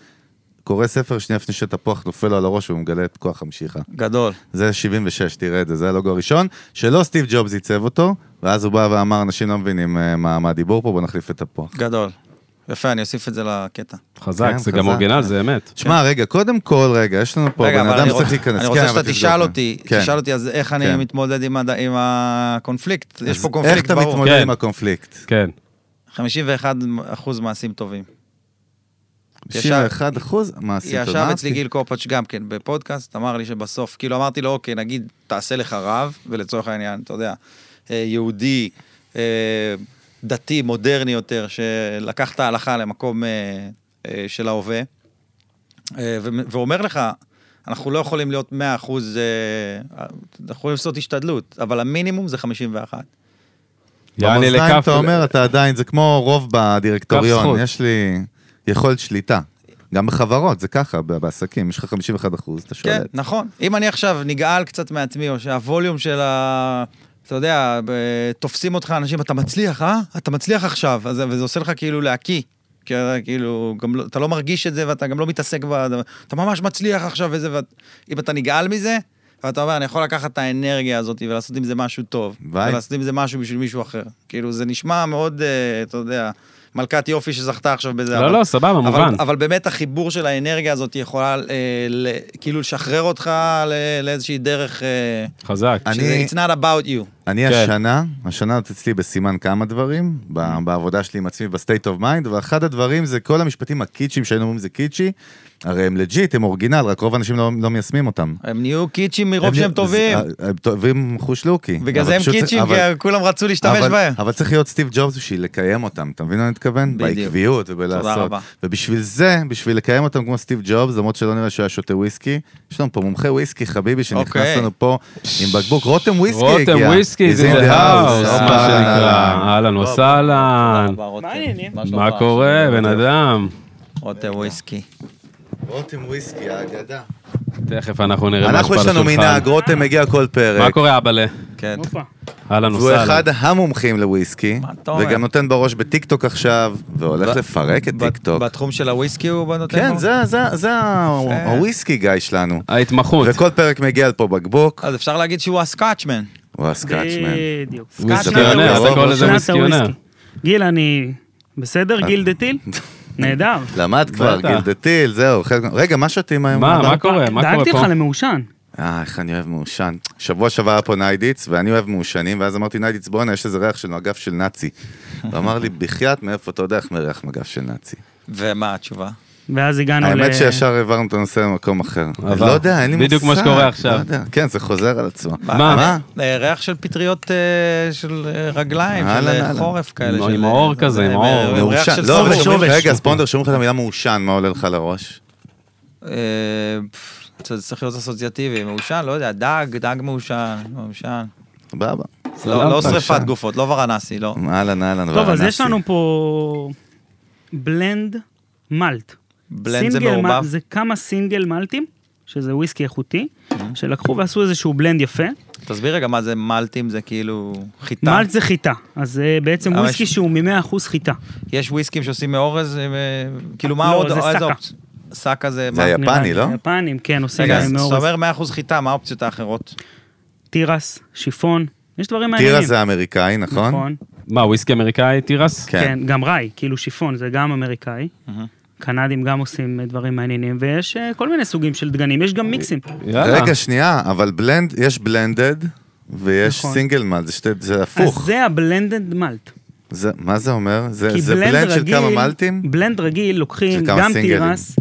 קורא ספר שנייה לפני שתפוח נופל לו על הראש והוא מגלה את כוח המשיכה.
גדול.
זה 76, תראה את זה, זה הלוגו הראשון, שלא סטיב ג'ובס עיצב אותו, ואז הוא בא ואמר, אנשים לא מבינים אה, מה מה הדיבור פה, בוא נחליף את תפוח.
גדול. יפה, אני אוסיף את זה לקטע.
חזק,
כן,
זה גם
חזק.
אורגינל, זה אמת.
שמע, רגע, קודם כל, רגע, יש לנו פה
כן. רגע,
בן
אבל
אדם
אני
שצריך
רוצ-
להיכנס.
אני
כן,
רוצה
אבל
שאתה
תסגור
תשאל
אותו.
אותי,
כן.
תשאל אותי אז איך אני
כן.
מתמודד עם הד- עם הקונפליקט. יש
איך
פה קונפליקט
אתה
ברור.
מתמודד
כן.
עם הקונפליקט?
כן.
51% מעשים טובים. ישר-
91 אחוז? מה עשית?
ישב
מה
אצלי
עשית?
גיל קופאץ' גם כן בפודקאסט, אמר לי שבסוף, כאילו אמרתי לו, אוקיי, נגיד, תעשה לך רב, ולצורך העניין, אתה יודע, אה, יהודי, אה, דתי, מודרני יותר, שלקח את ההלכה למקום אה, אה, של ההווה, אה, ו- ואומר לך, אנחנו לא יכולים להיות 100 אחוז, אה, אנחנו יכולים לעשות השתדלות, אבל המינימום זה 51.
יעני
במאזניים
לכף...
אתה אומר, אתה עדיין, זה כמו רוב
כף זכות.
בדירקטוריון, יש לי יכולת שליטה. גם בחברות, זה ככה, ב- בעסקים, יש לך 51 אחוז, אתה
כן,
שולט.
נכון. אם אני עכשיו נגעל קצת מעצמי, או שהווליום של ה... אתה יודע, ב- תופסים אותך אנשים, אתה מצליח, אה? אתה מצליח עכשיו, אז- וזה עושה לך כאילו להקיא. כי אתה כאילו, גם לא, אתה לא מרגיש את זה ואתה גם לא מתעסק בדבר, אתה ממש מצליח עכשיו וזה, ואם אתה נגעל מזה, ואתה אומר, אני יכול לקחת את האנרגיה הזאת ולעשות עם זה משהו טוב.
וואי.
ולעשות עם זה משהו בשביל מישהו אחר. כאילו, זה נשמע מאוד, אה, אתה יודע, מלכת יופי שזכתה עכשיו בזה.
לא,
אבל-
לא, סבבה,
אבל-
מובן.
אבל באמת החיבור של האנרגיה הזאת יכולה אה, ל- כאילו לשחרר אותך ל- לאיזושהי דרך, אה,
חזק.
אני-
שזה it's not about you.
אני
כן.
השנה, השנה את אצלי בסימן כמה דברים,
Mm.
ב- בעבודה שלי עם עצמי, בסטייט אוף מיינד, ואחד הדברים זה כל המשפטים הקיצ'ים שהיינו אומרים זה קיצ'י, הרי הם לג'יט, הם אורגינל, רק רוב האנשים לא לא מיישמים אותם.
הם נהיו קיצ'ים מרוב
הם-
שהם טובים.
זה- אה, הם טובים חושלוקי.
בגלל
אבל
זה הם
פשוט צריך-
קיצ'ים, כי
אבל-
כולם רצו להשתמש
אבל-
בהם.
אבל צריך להיות סטיב ג'ובס בשביל לקיים אותם, אתה מבין מה אני מתכוון?
בדיוק.
בעקביות ובלעשות.
תודה רבה.
ובשביל זה, בשביל לקיים אותם כמו סטיב ג'ובס, למרות שלא נראה שהוא היה שותה וויסקי, יש לנו פה מומחה וויסקי חביבי שנכנס
אוקיי.
לנו פה עם בקבוק, רותם וויסקי הגיע.
רותם וויסקי,
He's
זה
in the
האוס,
house.
אה, מה
אהלן,
שנקרא.
אהלן.
אהלן וסהלן.
מה העניינים?
מה קורה, בן אדם?
רותם וויסקי.
רותם וויסקי, האגדה.
תכף אנחנו נראה מה
אנחנו,
שפה
יש
על
לנו
השולחן.
מנהג, רותם מגיע כל
מה
פרק.
קורה, אבאלה?
כן.
הופה.
אהלן
והוא
וסהלן.
אחד המומחים לוויסקי,
מה אתה אומר?
וגם נותן בראש בטיקטוק עכשיו, והולך
ב-
לפרק את
בת-
טיקטוק.
בתחום של הוויסקי הוא בנותן?
כן,
לו?
זה- זה- זה ה-
יפה.
הוויסקי גיא שלנו.
ההתמחות.
וכל פרק מגיע לפה בקבוק,
אז אפשר להגיד שהוא הסקאצ'מן.
הוא הסקאצ'מן.
בדיוק.
וויסקי
סקאצ'מן.
יונר,
הוא
אתה
קורא לזה
ראש-
לא שנת
וויסקיונר.
הוויסקי. גיל, אני... בסדר,
אה.
גיל דה טיל? נהדר.
למד כבר,
בטח.
גיל דה טיל, זהו. חלק- רגע, מה שותים היום?
מה,
אדם?
מה קורה? מה קורה
דאגתי לך
פה?
למעושן.
אה, איך אני אוהב מעושן. שבוע שעבר היה פה ניידיץ, ואני אוהב מעושנים, ואז אמרתי ניידיץ, בואנה, יש איזה ריח של מגף של נאצי. הוא אמר לי, בחייאת, מאיפה אתה יודע איך מריח מגף של נאצי?
ומה התשובה?
ואז הגענו ל...
האמת שישר העברנו את הנושא למקום אחר.
עבר.
אני לא יודע, אין לי מושג.
בדיוק מה שקורה
לא
עכשיו.
יודע. כן, זה חוזר על עצמו.
מה?
מה?
אה, ריח של פטריות אה, של אה, רגליים, של
אהלן,
אה,
אהלן.
חורף כאלה.
עם-
של,
עם
אה,
האור
לא יודע,
כזה, עם
אה,
האור.
אה, ריח
מעושן.
של
לא, אבל
סובש.
שאומרים-
שובש.
רגע, אז פונדר, שאומרים לך את המילה מעושן, מה עולה לך לראש?
אה, פפ, זה צריך להיות אסוציאטיבי, מעושן, לא יודע, דג, דג מעושן, מעושן.
סבבה.
לא לא
מעושן.
שריפת גופות, לא ורנסי, לא.
אהלן, אהלן.
טוב, אז
ורנסי.
יש לנו פה בלנד מלט.
בלנד זה
סינגל מל-
מעורבב?
זה כמה סינגל מלטים, שזה וויסקי איכותי,
Mm-hmm.
שלקחו ועשו איזשהו בלנד יפה.
תסביר רגע מה זה מלטים, זה כאילו חיטה.
מלט זה חיטה, אז זה בעצם
אבל
וויסקי
יש-
שהוא מ-100% חיטה.
יש וויסקים שעושים מאורז, אה, כאילו מה
לא,
עוד?
זה
איזה
סאקה.
אופצ- סאקה זה...
זה
מה?
היה- יפני,
נראה לי,
לא?
יפנים, כן, עושים
רגע, אז
להם
אתה
מאורז.
אומר 100% חיטה, מה האופציות האחרות?
תירס, שיפון, יש דברים מעניינים.
טירה זה אמריקאי, נכון?
נכון.
מה, וויסקי אמריקאי, תירס?
כן.
כן, גם ראי, כאילו שיפון, זה גם אמריקאי. קנדים גם עושים אה, דברים מעניינים, ויש אה, כל מיני סוגים של דגנים, יש
אה,
גם מיקסים.
יאללה.
רגע, שנייה, אבל בלנד, יש בלנדד ויש
נכון.
סינגל מלט, זה שתי- זה
אז
הפוך.
זה הבלנדד מלט.
זה- מה זה אומר? זה
כי
זה
בלנד
בלנד של
רגיל-
כמה מלטים?
בלנד רגיל לוקחים
של כמה
גם
סינגלים.
תירס,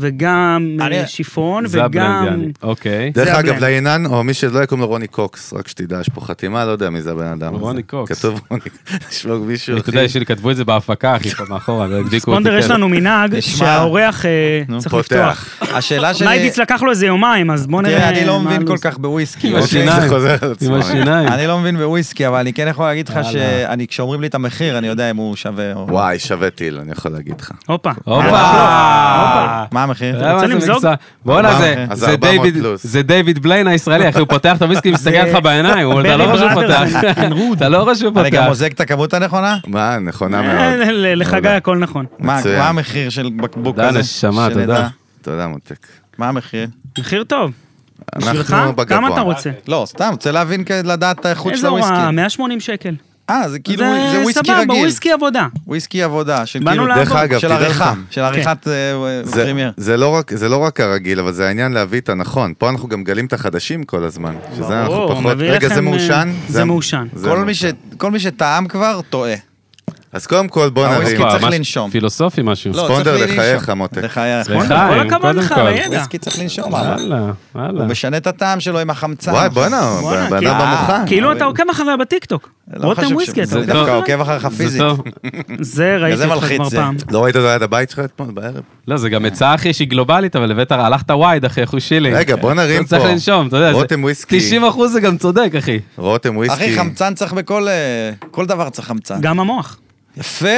וגם אה,
אני-
שיפון,
זה הבלנד,
וגם...
יעני. אוקיי.
דרך
זה
אגב,
הבלנד.
לעינן, או מי שלא יקום לו רוני קוקס, רק שתדע, יש פה חתימה, לא יודע מי זה הבן אדם. הזה.
רוני קוקס.
כתוב רוני קוקס, יש לו מישהו,
אתה יודע,
אחי,
יש לי- כתבו את זה בהפקה, אחי, פה מאחורה, והדליקו אותי.
ספונדר, יש
כן.
לנו מנהג
נשמע.
שהאורח אה, צריך לפתוח.
פותח.
השאלה שלי...
ניידיץ לקח לו איזה יומיים, אז בוא נראה
תראה, אני לא
מה
מבין כל
הלו"ז.
כך בוויסקי.
עם
אוקיי?
השיניים.
זה חוזר על עצמו.
עם השיניים.
אני לא מבין בוויסקי, אבל אני כן יכול להגיד לך
יאללה.
שאני, כשאומרים לי את המחיר, אני יודע אם הוא שווה או...
וואי, שווה טיל, אני יכול להגיד לך.
הופה.
אה,
הופה!
מה המחיר?
אה,
אתה יודע מה זה
למזוג?
מבצע? בואנה,
ארבע,
זה-
אז
זה
400
דיוויד-
פלוס.
זה דיוויד בליין הישראלי, אחי, הוא פותח את הוויסקי, מסתכל עליך בעיניים, הוא אומר, אתה לא
ברי
רואה שהוא
בראדרס,
פותח. אתה לא רואה שהוא
אני גם
פותח.
מוזג את הכמות הנכונה?
מה, נכונה
אה,
מאוד. לא
ל- לחגי הכל נכון.
מה
מצוין.
מה המחיר של בקבוק
תודה,
כזה?
נשמה,
שנדע.
תודה.
תודה, מותק.
מה המחיר?
מחיר טוב. בשבילך?
אנחנו בגבוה.
כמה אתה רוצה?
לא, סתם, רוצה להבין, כ- לדעת את האיכות של
איזה הוראה?
הוויסקי.
180 שקל.
אה, זה כאילו, זה וויסקי
סבבה,
רגיל.
וויסקי עבודה.
וויסקי עבודה, של
באנו
כאילו,
לעבוד. דרך
אגב,
של
תראה
עריכה,
לך.
של עריכת אה,
זה-
פרימייר.
זה לא רק- זה לא רק הרגיל, אבל זה העניין להביא את הנכון. פה אנחנו גם גלים את החדשים כל הזמן. שזה אנחנו
ברור,
פחות...
מביא
רגע,
לכם,
זה
אה,
מעושן?
זה מעושן.
זה
כל מי ש- כל מי שטעם כבר, טועה.
אז קודם כל, בוא
הוויסקי
נרים.
צריך
וואו, משהו
לנשום.
פילוסופי משהו.
לא, נכון.
ספונדר,
צריך לי
לחייך,
לנשום.
מותק.
לחייך.
כל
לחיים,
הכבוד
קודם
לך,
כל.
בידע.
וויסקי צריך לנשום, אבל.
וואלה, וואלה.
הוא משנה את הטעם שלו עם החמצן.
וואי, בואנה,
בואנה,
בן
כאילו-
אדם במוכן.
כאילו
אבל-
אתה עוקב אחריה בטיקטוק.
לא חשוב
רותם
ש-
וויסקי, אתה
זה
עוקב
דווקא
אחריה?
עוקב אחריך
זה
פיזית.
טוב.
זה ראיתי
זה
אותך
מלחיץ
כבר
זה.
פעם.
לא ראית את זה ליד הבית שלך אתמול בערב?
לא, זה גם עצה, אחי, שהיא גלובלית, אבל הבאת, הלכת וייד, אחי, אחוז שילינג.
רגע, בוא נרים
אתה צריך
פה.
לנשום, אתה יודע. זה-
רותם וויסקי.
90 אחוז זה גם צודק, אחי.
רותם וויסקי.
אחי, חמצן צריך בכל... אה, כל דבר צריך חמצן.
גם המוח.
יפה.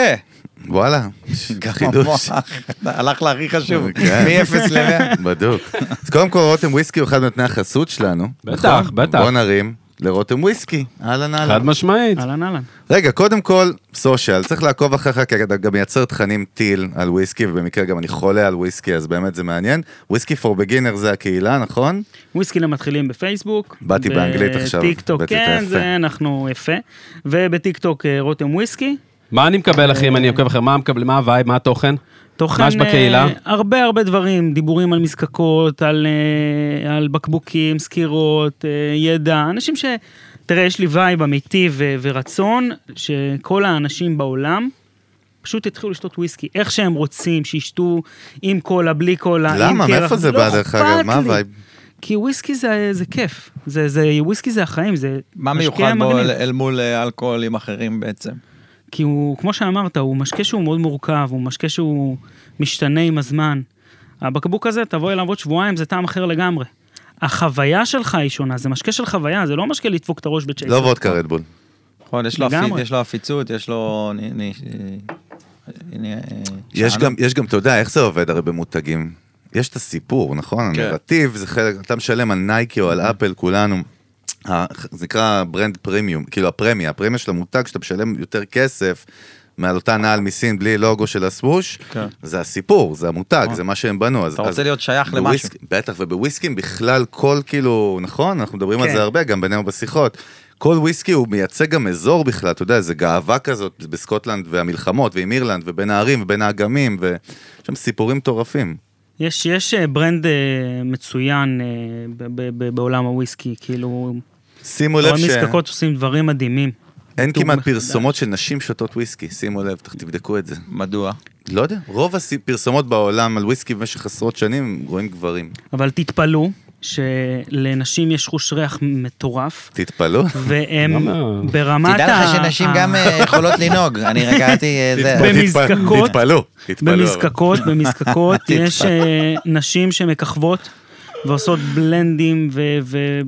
וואלה, חידוש.
המוח. הלך להכי חשוב.
כן.
מ-0 ל-100.
בדוק. אז קודם כל, רותם וויסקי הוא אחד מנותני החסות שלנו.
בטח,
נכון?
בטח.
בוא נרים לרותם וויסקי. אהלן
חד
אהלן.
משמעית.
אהלן אהלן.
רגע, קודם כל, סושיאל, צריך לעקוב אחריך, כי אתה גם מייצר תכנים טיל על וויסקי, ובמקרה גם אני חולה על וויסקי, אז באמת זה מעניין. וויסקי פור בגינר זה הקהילה, נכון?
וויסקי למתחילים בפייסבוק.
באתי באנגלית עכשיו,
בטיקטוק,
הבאתי את
כן,
היפה.
זה אנחנו יפה. ובטיקטוק אה, רותם וויסקי.
מה אני מקבל, אחי, אם אני עוקב אחר? מה מקבל- מה הווייב? מה התוכן?
תוכן,
מה יש בקהילה?
אה, הרבה הרבה דברים, דיבורים על מזקקות, על, אה, על בקבוקים, סקירות, אה, ידע, אנשים ש... תראה, יש לי וייב אמיתי ו- ורצון שכל האנשים בעולם פשוט יתחילו לשתות וויסקי, איך שהם רוצים, שישתו עם קולה, בלי קולה, עם
למה?
קרח,
מאיפה זה
לא
בא, דרך אגב?
אכפת
מה
לי.
הווייב?
כי וויסקי זה, זה כיף, זה, זה, וויסקי זה החיים, זה
מה
משקה
מיוחד בו
מגניב.
אל- אל מול אה, אלכוהולים אחרים בעצם?
כי הוא, כמו שאמרת, הוא משקה שהוא מאוד מורכב, הוא משקה שהוא משתנה עם הזמן. הבקבוק הזה, תבוא אליו עוד שבועיים, זה טעם אחר לגמרי. החוויה שלך היא שונה, זה משקה של חוויה, זה לא משקה לדפוק את הראש בצ'ייסר.
לא וודקה רדבול.
נכון, יש לו
לגמרי.
עפיץ- יש לו עפיצות, יש לו... נ- נ- אה, הנה, אה,
יש
שאנו.
גם, יש גם, אתה יודע, איך זה עובד הרי במותגים? יש את הסיפור, נכון?
כן. Mm-hmm.
הנרטיב זה חלק, אתה משלם על נייקי או על אפל, כולנו. ה- זה נקרא ברנד פרימיום, כאילו הפרמיה, הפרמיה של המותג, שאתה משלם יותר כסף מעל אותה נעל מסין בלי לוגו של הסווש,
כן. אה.
זה הסיפור, זה המותג, זה מה שהם בנו. אז-
אתה רוצה
אז
להיות שייך למשהו.
בוויסק- בטח, ובוויסקים בכלל כל כאילו, נכון, אנחנו מדברים על
כן.
זה הרבה, גם בינינו בשיחות. כל וויסקי הוא מייצג גם אזור בכלל, אתה יודע, זה גאווה כזאת בסקוטלנד והמלחמות ועם אירלנד ובין הערים ובין האגמים, ויש שם סיפורים מטורפים.
יש, יש אה, ברנד אה, מצוין אה, ב- ב- ב- בעולם הוויסקי, כאילו,
שימו לב
בעולם
שאין
מזקקות עושים דברים מדהימים. טוב
כמעט
מחדש.
פרסומות של נשים שותות וויסקי, שימו לב, תכף תבדקו את זה.
מדוע?
לא יודע, רוב הפרסומות בעולם על וויסקי במשך עשרות שנים רואים גברים.
אבל תתפלאו שלנשים יש חוש ריח מטורף,
תתפלאו.
והם
למה?
ברמת
תדע לך שנשים גם אה, יכולות לנהוג, אני רק ראיתי אה, זה.
תתבייש. במזקקות-
תתפלאו, תתפלאו.
במזקקות, במזקקות, יש אה, נשים שמככבות ועושות בלנדים ו-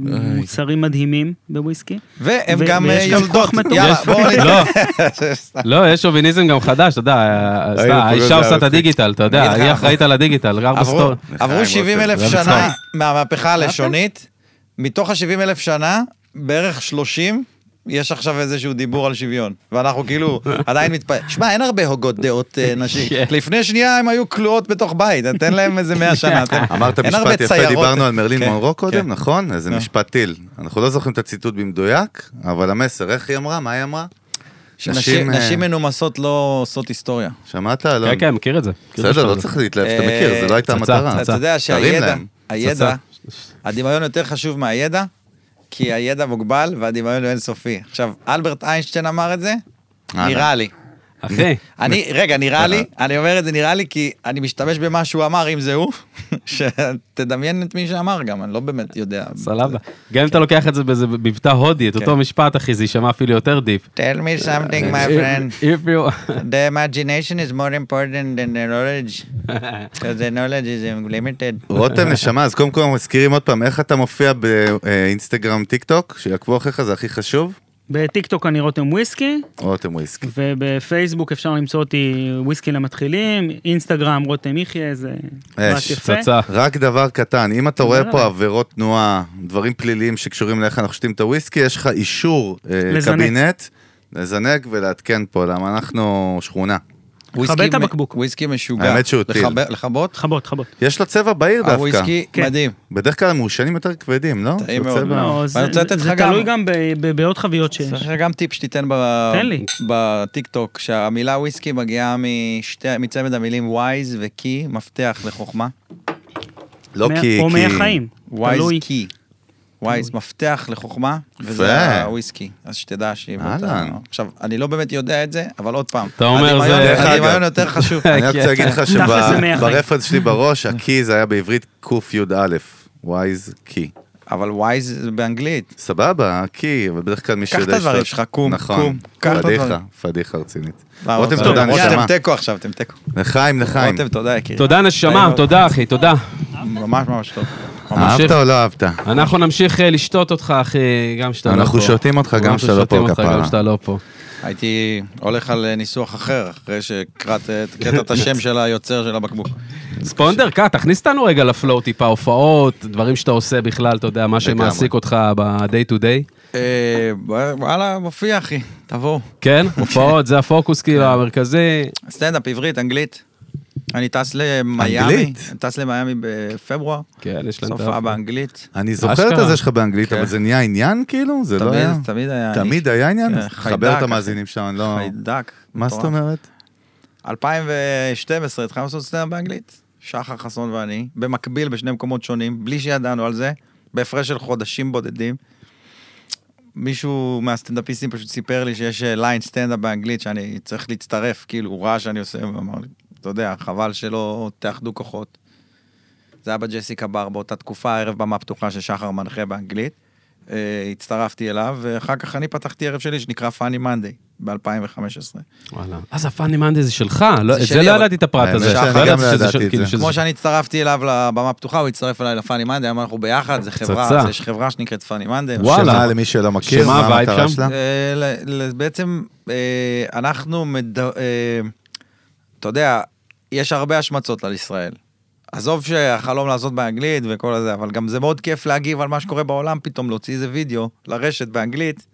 ומוצרים מדהימים בוויסקי.
והן
ו-
גם אה,
ויש גם
יולדות.
כוח מטורף.
יאללה, בואו נ-
לא, לא, יש שוביניזם גם חדש, אתה יודע, אה, סתם,
פה זה
האישה עושה את
מצחיק.
הדיגיטל, אתה יודע,
נגיד לך,
היא אחראית על הדיגיטל, גר
עברו-
בסטור.
עברו
לחיים
70 אלף
רותם. זה
שנה
מצחיק.
מהמהפכה הלשונית, מתוך ה-70 אלף שנה, בערך 30, יש עכשיו איזשהו דיבור על שוויון, ואנחנו כאילו עדיין מתפ... שמע, אין הרבה הוגות דעות אה, נשים.
כן.
לפני שנייה הם היו כלואות בתוך בית, נתן להם איזה 100 שנה. אתם-
אמרת
אין הרבה
משפט יפה,
ציירות.
דיברנו על מרלין
כן,
מונרו
כן.
קודם, נכון? איזה
נו.
משפט טיל. אנחנו לא זוכרים את הציטוט במדויק, אבל המסר, איך היא אמרה? מה היא אמרה?
שנשים
אה,
נשים מנומסות לא עושות היסטוריה.
שמעת, אלון?
כן, כן, מכיר את זה. מכיר את
לא. בסדר,
השטר
לא
הזה.
צריך להתלהב, אתה
אה,
מכיר, זה לא הייתה
פצצה,
המטרה.
פצצה.
אתה יודע
תרים
שהידע,
להם.
הידע,
פצצה.
הדמיון יותר חשוב מהידע, כי הידע מוגבל והדמיון הוא אינסופי. עכשיו, אלברט איינשטיין אמר את זה,
אה,
נראה לי.
אחי,
אני, רגע, נראה לי, אני אומר את זה נראה לי, כי אני משתמש במה שהוא אמר, אם זה הוא, שתדמיין את מי שאמר גם, אני לא באמת יודע.
סבבה. כן. גם אם אתה לוקח את זה באיזה מבטא הודי, את אותו משפט, אחי, זה יישמע אפילו יותר דיפ.
Tell me something, my friend.
If- if you-
The imagination is more important than the knowledge. Because the knowledge is limited.
רותם, נשמה, אז קודם כל מזכירים עוד פעם, איך אתה מופיע באינסטגרם, טיק טוק, שיעקבו אחריך, זה הכי חשוב?
בטיקטוק אני רותם וויסקי,
רותם וויסקי.
ובפייסבוק אפשר למצוא אותי וויסקי למתחילים, אינסטגרם רותם יחיא, זה
אה,
פרט יפה.
פצצה.
רק דבר קטן, אם אתה רואה פה
בוודאי.
עבירות תנועה, דברים פליליים שקשורים לאיך אנחנו שותים את הוויסקי, יש לך אישור אה,
לזנק.
קבינט, לזנק ולעדכן פה, למה אנחנו שכונה.
וויסקי
את
מ-
הבקבוק.
וויסקי משוגע.
האמת שהוא טיל.
לחב- לכבות?
חבות, חבות.
יש לו צבע בהיר דווקא.
הוויסקי
כן.
מדהים.
בדרך כלל המעושנים יותר כבדים, לא?
טעים
זה
מאוד.
צבע-
לא, זה
אה. רוצה לתת
זה
לך גם-
תלוי גם ב- ב- בעוד חביות
כן,
שיש.
צריך גם טיפ שתיתן ב...
תן לי.
בטיקטוק, שהמילה וויסקי מגיעה משתי- מצמד המילים וייז וקי, מפתח לחוכמה.
לא
מה-
כי...
או
כי-
מהחיים,
וייז
תלוי.
קי. וייז מפתח לחוכמה, וזה
יפה.
הוויסקי, אז שתדע שהיא... באותה-
אהלן.
עכשיו, אני לא באמת יודע את זה, אבל עוד פעם.
אתה אומר,
הדמיון-
זה-
דרך
הדמיון
אגב.
יותר חשוב.
אני רק רוצה להגיד לך
תכל'ס זה מהחיים.
שברפרנס שלי בראש, הקי זה היה בעברית קי"א, ווייז קי.
אבל וייז זה באנגלית.
סבבה, קי, אבל בדרך כלל מי
קח את
שיודע...
הדברים
שאתה-
שלך, קום,
נכון,
קום, קח את
פדיחה,
הדברים.
פדיחה רצינית.
מה,
רותם,
רותם,
תודה,
יאללה,
נשמה.
אתם תיקו עכשיו, אתם תיקו.
לחיים, לחיים.
רותם, תודה, יקירי.
תודה נשמה, תודה אחי, תודה.
ממש ממש טוב.
אהבת או לא אהבת?
אנחנו נמשיך אה, לשתות אותך אחי, גם כשאתה לא פה.
אנחנו שותים אותך גם
אנחנו
כשאתה לא
שותים
פה,
אותך
כפרה.
גם כשאתה לא פה.
הייתי הולך על אה, ניסוח אחר, אחרי שקראת את- קראת את השם של היוצר של הבקבוק.
ספונדר, קאט, תכניס אותנו רגע לפלואו טיפה, הופעות, דברים שאתה עושה בכלל, אתה יודע, מה שמעסיק אותך ב-day to day.
אה, וואלה, מופיע, אחי, תבואו.
כן, הופעות, זה הפוקוס כאילו המרכזי.
סטנדאפ עברית, אנגלית. אני טס למיאמי.
אנגלית?
אני טס למיאמי בפברואר.
כן, יש להם את
סופה
ה...
באנגלית.
אני זוכר את
אשכרה.
הזה שלך באנגלית,
כן.
אבל זה נהיה עניין כאילו? זה לא
תמיד,
היה?
תמיד היה...
תמיד היה עניין?
כן,
חבר
חיידק,
את המאזינים שם, אני לא...
אני חיידק.
מה זאת אומרת?
2012 התחלנו לעשות סטנדאפ באנגלית, שחר חסון ואני, במקביל בשני מקומות שונים, בלי שידענו על זה, בהפרש של חודשים בודדים. מישהו מהסטנדאפיסטים פשוט סיפר לי שיש אה, ליין סטנדאפ באנגלית שאני צריך להצטרף, כאילו, הוא ראה שאני עושה, הוא אמר לי, אתה יודע, חבל שלא תאחדו כוחות. זה היה בג'סיקה בר באותה תקופה, ערב במה פתוחה ששחר מנחה באנגלית. אה, הצטרפתי אליו, ואחר כך אני פתחתי ערב שלי שנקרא פאני מנדי, ב-2015.
וואלה. אז הפאני מאנדי זה שלך, לא- את
שלי,
זה לא
אבל-
ידעתי את הפרט
האמת
הזה.
שאני
לא
גם
ידעתי
לא
שזה
ידעתי
של-
את
כאילו
זה.
שזה-
כמו שאני הצטרפתי אליו לבמה הפתוחה, הוא הצטרף אליי לפאני מנדי, אמרנו אנחנו ביחד, זה חברה,
פצצה.
אז יש חברה שנקראת פאני מנדי.
וואלה.
שמה למי שלא מכיר,
שמה
מה
הווייב
המטרה
שם?
שלה?
אה, ל- ל- בעצם אה, אנחנו, מד- אה, אתה יודע, יש הרבה השמצות על ישראל. עזוב שהחלום לעשות באנגלית וכל הזה, אבל גם זה מאוד כיף להגיב על מה שקורה בעולם, פתאום להוציא איזה וידאו לרשת באנגלית,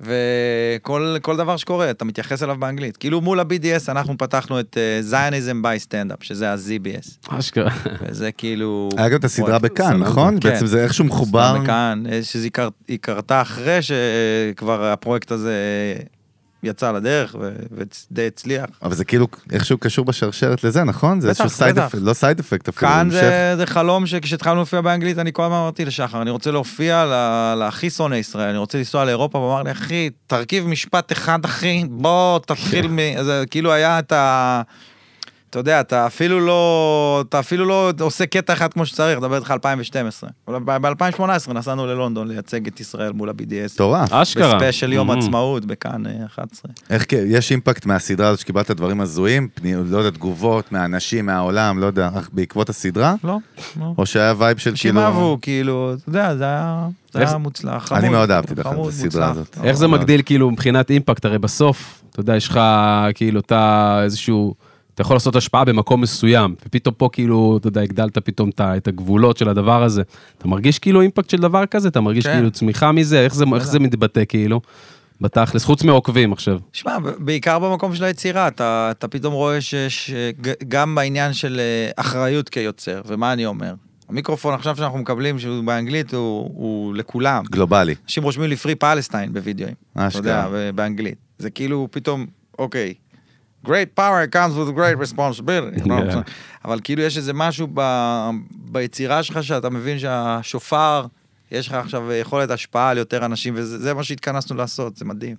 וכל כל דבר שקורה, אתה מתייחס אליו באנגלית. כאילו מול ה-BDS אנחנו פתחנו את אה, Zionism by Stand-up, שזה ה-ZBS.
אשכרה.
וזה כאילו...
היה גם את הסדרה
פרויקט.
בכאן,
סבבה.
נכון?
כן.
בעצם זה איכשהו מחובר.
הסדרה בכאן, אה, שזה קר- היא קרתה אחרי שכבר הפרויקט הזה אה, יצא לדרך ו- ודי הצליח.
אבל זה כאילו איכשהו קשור בשרשרת לזה, נכון? זה
בטח,
איזשהו סייד
בטח.
אפקט, לא סייד אפקט אפילו.
כאן
המשך.
זה, זה חלום שכשהתחלנו להופיע באנגלית, אני כל הזמן אמרתי לשחר, אני רוצה להופיע ל- להכי שונא ישראל, אני רוצה לנסוע לאירופה, והוא אמר לי, אחי, תרכיב משפט אחד, אחי, בוא, תתחיל מ... זה כאילו היה את ה... אתה יודע, אתה אפילו לא, אתה אפילו לא עושה קטע אחד כמו שצריך, דבר איתך 2012. ב-2018 נסענו ללונדון לייצג את ישראל מול ה-BDS.
מטורף.
אשכרה.
בספיישל יום
Mm.
עצמאות בכאן אה, 11.
איך כן, יש אימפקט מהסדרה הזאת שקיבלת דברים הזויים? פני- לא יודע, תגובות מהאנשים, מהעולם, לא יודע, אך בעקבות הסדרה?
לא, לא.
או שהיה וייב של
אנשים
כאילו...
אהבו, כאילו, אתה יודע, זה היה זה
איך
היה
זה-
מוצלח, חמוד.
אני מאוד אהבתי דרך אגב
חמוד,
את הסדרה
מוצלח.
הזאת.
איך זה מגדיל כאילו מבחינת אימפקט? הרי בסוף, אתה יודע, יש לך כאילו אתה איזשהו, אתה יכול לעשות השפעה במקום מסוים, ופתאום פה כאילו, אתה יודע, הגדלת פתאום את ה- את הגבולות של הדבר הזה. אתה מרגיש כאילו אימפקט של דבר כזה? אתה מרגיש
כן.
כאילו צמיחה מזה? איך זה- איך זה מתבטא כאילו? בתכלס, חוץ מעוקבים עכשיו.
שמע, ב- בעיקר במקום של היצירה, אתה, אתה פתאום רואה שיש אה, ג- גם בעניין של אה, אחריות כיוצר, ומה אני אומר? המיקרופון עכשיו שאנחנו מקבלים, שהוא באנגלית, הוא, הוא לכולם.
גלובלי.
אנשים רושמים לי פרי פלסטיין בווידאוים. אתה יודע,
אשכרה.
ו- באנגלית. זה כאילו פתאום, אוקיי, great power comes with great responsibility. לא,
כן.
לא, אבל כאילו יש איזה משהו ב- ביצירה שלך שאתה מבין שהשופר, יש לך עכשיו יכולת השפעה על יותר אנשים, וזה זה מה שהתכנסנו לעשות, זה מדהים.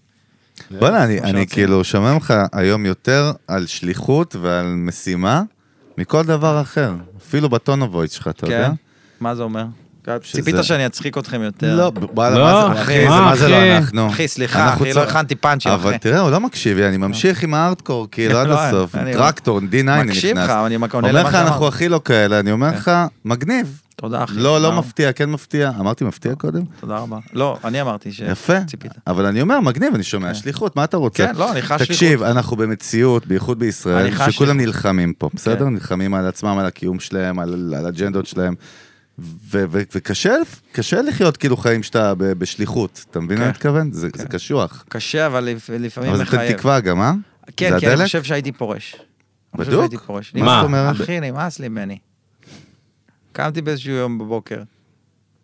בוא'נה, אני-
כמו
אני
שרצינו.
כאילו שומע ממך היום יותר על שליחות ועל משימה מכל דבר אחר. אפילו בטון הוויץ שלך, אתה יודע?
כן? מה זה אומר?
שזה-
ציפית שאני אצחיק אתכם יותר.
לא, וואלה,
לא,
מה זה, אחי,
אחי,
זה
מה,
מה זה לא
אחי?
אנחנו.
אחי, סליחה,
אנחנו
אחי, לא
צר-
הכנתי פאנצ'ים,
אבל
אחי.
תראה, הוא לא מקשיב, אני ממשיך עם הארדקור, כאילו, עד
לא,
הסוף.
אני-
טרקטור, D9 נכנס.
מקשיב לך, אני עונה
אומר
למה
לך,
שאמרת.
אנחנו הכי לא כאלה, אני אומר לך, מגניב.
תודה, אחי.
לא, לא
וואו,
מפתיע, כן מפתיע. אמרתי מפתיע קודם?
תודה רבה. לא, אני אמרתי ש...
יפה.
ציפית.
אבל אני אומר, מגניב, אני שומע שליחות, מה אתה רוצה?
כן, לא, אני חש שליחות.
תקשיב, אנחנו במציאות, בייחוד בישראל,
אני חש כן.
שכולם נלחמים פה, בסדר? נלחמים על עצמם, על הקיום שלהם, על על אג'נדות שלהם. ו- ו- וקשה קשה לחיות כאילו חיים שאתה ב- בשליחות, אתה מבין מה אני
כן.
מתכוון? זה זה קשוח.
קשה, אבל לפ- לפעמים
אבל זה
מחייב.
נותן תקווה גם, אה? זה
כן, כי אני
הדלק?
חושב שהייתי פורש. אני חושב
בדוק?
שהייתי פורש.
מה
נמאס-
זאת
אומרת?
אחי, נמאס לי ממני. קמתי באיזשהו יום בבוקר.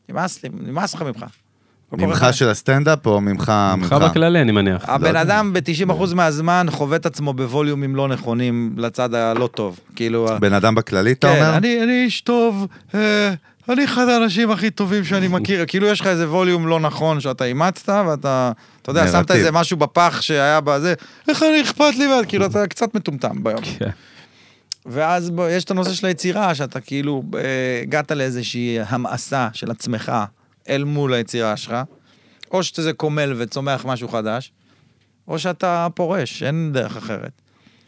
נמאס לי, נמאס לך ממך. לא קורה
ממך
לך.
של הסטנדאפ או ממך...
אה,
ממך בכללי, אני מניח.
הבן
יודע.
אדם ב-90% מהזמן חווה את עצמו בווליומים לא נכונים לצד הלא טוב. כאילו... ה-
בן אדם בכללי, אתה
כן,
אומר?
אני אני איש טוב, אה, אני אחד האנשים הכי טובים שאני מכיר. כאילו יש לך איזה ווליום לא נכון שאתה אימצת, ואתה, אתה יודע, שמת
נרטיב.
איזה משהו בפח שהיה בזה, איך אני אכפת לי, ואז כאילו אתה קצת מטומטם ביום.
כן.
ואז בוא, יש את הנושא של היצירה, שאתה כאילו אה, הגעת לאיזושהי המאסה של עצמך אל מול היצירה שלך, או שזה קומל וצומח משהו חדש, או שאתה פורש, אין דרך אחרת.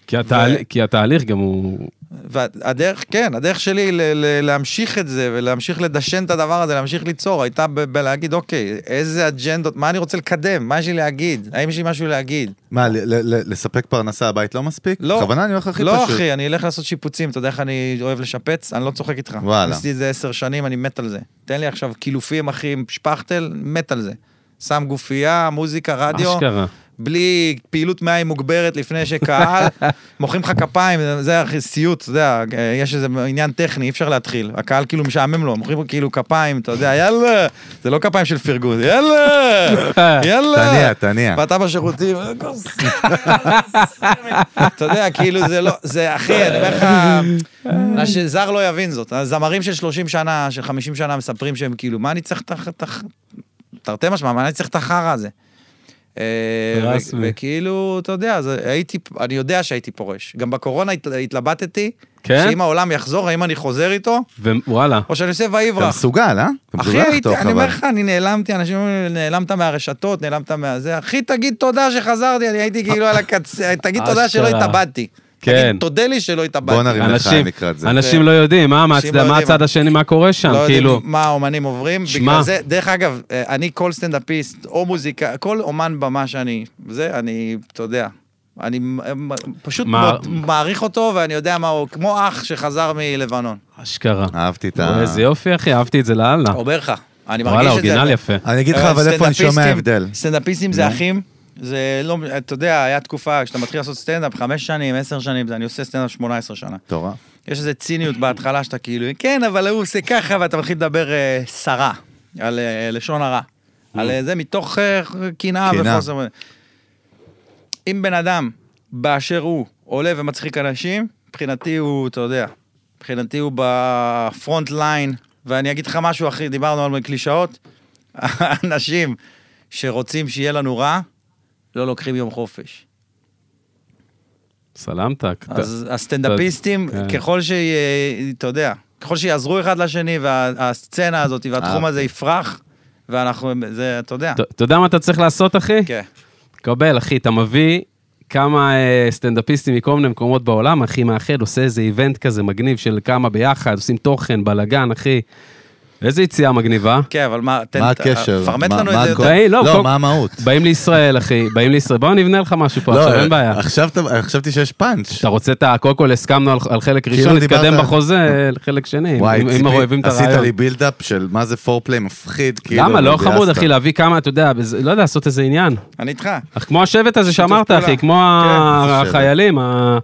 כי התהל- כי התהליך גם הוא...
והדרך, כן, הדרך שלי ל- ל- להמשיך את זה ולהמשיך לדשן את הדבר הזה, להמשיך ליצור, הייתה ב- בלהגיד, אוקיי, איזה אג'נדות, מה אני רוצה לקדם, מה יש לי להגיד, האם יש לי משהו להגיד.
מה, ל- ל- ל- לספק פרנסה הבית לא מספיק?
לא.
בכוונה אני הולך הכי
לא,
פשוט.
אחי, אני אלך לעשות שיפוצים, אתה יודע איך אני אוהב לשפץ? אני לא צוחק איתך.
וואלה.
עשיתי את זה עשר שנים, אני מת על זה. תן לי עכשיו קילופים, אחי, עם שפכטל, מת על זה. שם גופייה, מוזיקה, רדיו,
אשכרה.
בלי פעילות מעיים מוגברת לפני שקהל, מוחאים לך כפיים, זה- זה הכי סיוט, אתה יודע, אה, יש איזה עניין טכני, אי אפשר להתחיל. הקהל כאילו משעמם לו, מוחאים לו כאילו כפיים, אתה יודע, יאללה, זה לא כפיים של פרגון, יאללה, יאללה.
תניע, תניע.
ואתה בשירותים, אה, כוס. אתה יודע, כאילו זה לא, זה אחי, אני אומר לך, מה שזר לא יבין זאת. הזמרים של 30 שנה, של 50 שנה, מספרים שהם כאילו, מה אני צריך את ה- את ה... תרתי משמע, מה אני צריך את החרא הזה? אה, ו-
רסמי.
וכאילו, אתה יודע, זה- הייתי, אני יודע שהייתי פורש. גם בקורונה הת- התלבטתי,
כן?
שאם העולם יחזור, האם אני חוזר איתו,
ווואלה.
או שאני עושה
אתה
ויברח.
מסוגל, אה? אתה
אחי,
מסוגל לחתוך,
הייתי, אני אומר
אבל.
לך, אני נעלמתי, אנשים אומרים, לי, נעלמת מהרשתות, נעלמת מהזה, אחי, תגיד תודה שחזרתי, אני הייתי כאילו על הקצה, תגיד תודה שלא
אשכרה.
התאבדתי.
כן.
תגיד, תודה לי שלא
בוא
התאבדתי.
נרים לך
אנשים,
לקראת זה.
אנשים לא יודעים, מה, מה,
אנשים
הצד-
לא
מה
יודעים.
הצד השני, מה קורה שם,
לא
כאילו.
יודעים מה האומנים עוברים,
שמע.
בגלל זה, דרך אגב, אה, אני כל סטנדאפיסט, או מוזיקה, כל אומן במה שאני, זה, אני, אתה יודע, אני מ- מ- פשוט
מה-
מות- מעריך אותו, ואני יודע מה הוא, כמו אח שחזר מלבנון.
אשכרה.
אהבתי את
וואי,
ה...
איזה יופי, אחי, אהבתי את זה לאללה.
אומר לך, אני מרגיש את זה.
אה. וואלה, אורגינל יפה.
אני אגיד לך, אבל איפה אני שומע
אה, סטנדאפיסטים-
הבדל.
סטנדאפיסטים זה אחים. זה לא, אתה יודע, היה תקופה, כשאתה מתחיל לעשות סטנדאפ, חמש שנים, עשר שנים, זה- אני עושה סטנדאפ 18 שנה.
מטורף.
יש איזו ציניות בהתחלה שאתה כאילו, כן, אבל הוא עושה ככה, ואתה מתחיל לדבר אה, סרה, על אה, לשון הרע. על אה, זה מתוך אה, קנאה
קנאה.
וחוסר... אם בן אדם, באשר הוא, עולה ומצחיק אנשים, מבחינתי הוא, אתה יודע, מבחינתי הוא בפרונט ליין, ואני אגיד לך משהו, אחי, דיברנו על קלישאות, אנשים שרוצים שיהיה לנו רע, לא לוקחים יום חופש.
סלמתק.
אז הסטנדאפיסטים,
כן.
ככל ש... אתה יודע, ככל שיעזרו אחד לשני, והסצנה הזאת והתחום
אה.
הזה יפרח, ואנחנו, זה, אתה יודע.
אתה- אתה יודע מה אתה צריך לעשות, אחי?
כן.
קבל, אחי, אתה מביא כמה אה, סטנדאפיסטים מכל מיני מקומות בעולם, אחי, מאחד, עושה איזה איבנט כזה מגניב של כמה ביחד, עושים תוכן, בלאגן, אחי. איזה יציאה מגניבה.
כן, אבל מה, תן... אה,
מה הקשר?
פרמט
מה-
לנו
מה
את זה
הכל?
יותר.
די, לא,
לא,
כל-
מה המהות?
באים לישראל, אחי, באים לישראל. בוא, נבנה לך משהו
לא,
פה, עכשיו
אה,
אין בעיה.
עכשיו אתה- חשבתי שיש פאנץ'.
אתה רוצה את ה... קודם כל הסכמנו על- על חלק
כאילו
ראשון, נתקדם
דיברת-
בחוזה לחלק שני,
וואי,
אם- אם
ציפי,
אוהבים את
עשית
הרעיון.
לי בילדאפ של מה זה פורפליי מפחיד, כאילו.
למה? לא
וביאסת.
חמוד, אחי, להביא כמה, אתה יודע, בזה- לא יודע, לעשות איזה עניין.
אני איתך.
אך כמו השבט הזה
שיתוף
שאמרת,
פעולה.
אחי, כמו
כן,
זה שבט.
החיילים, ה-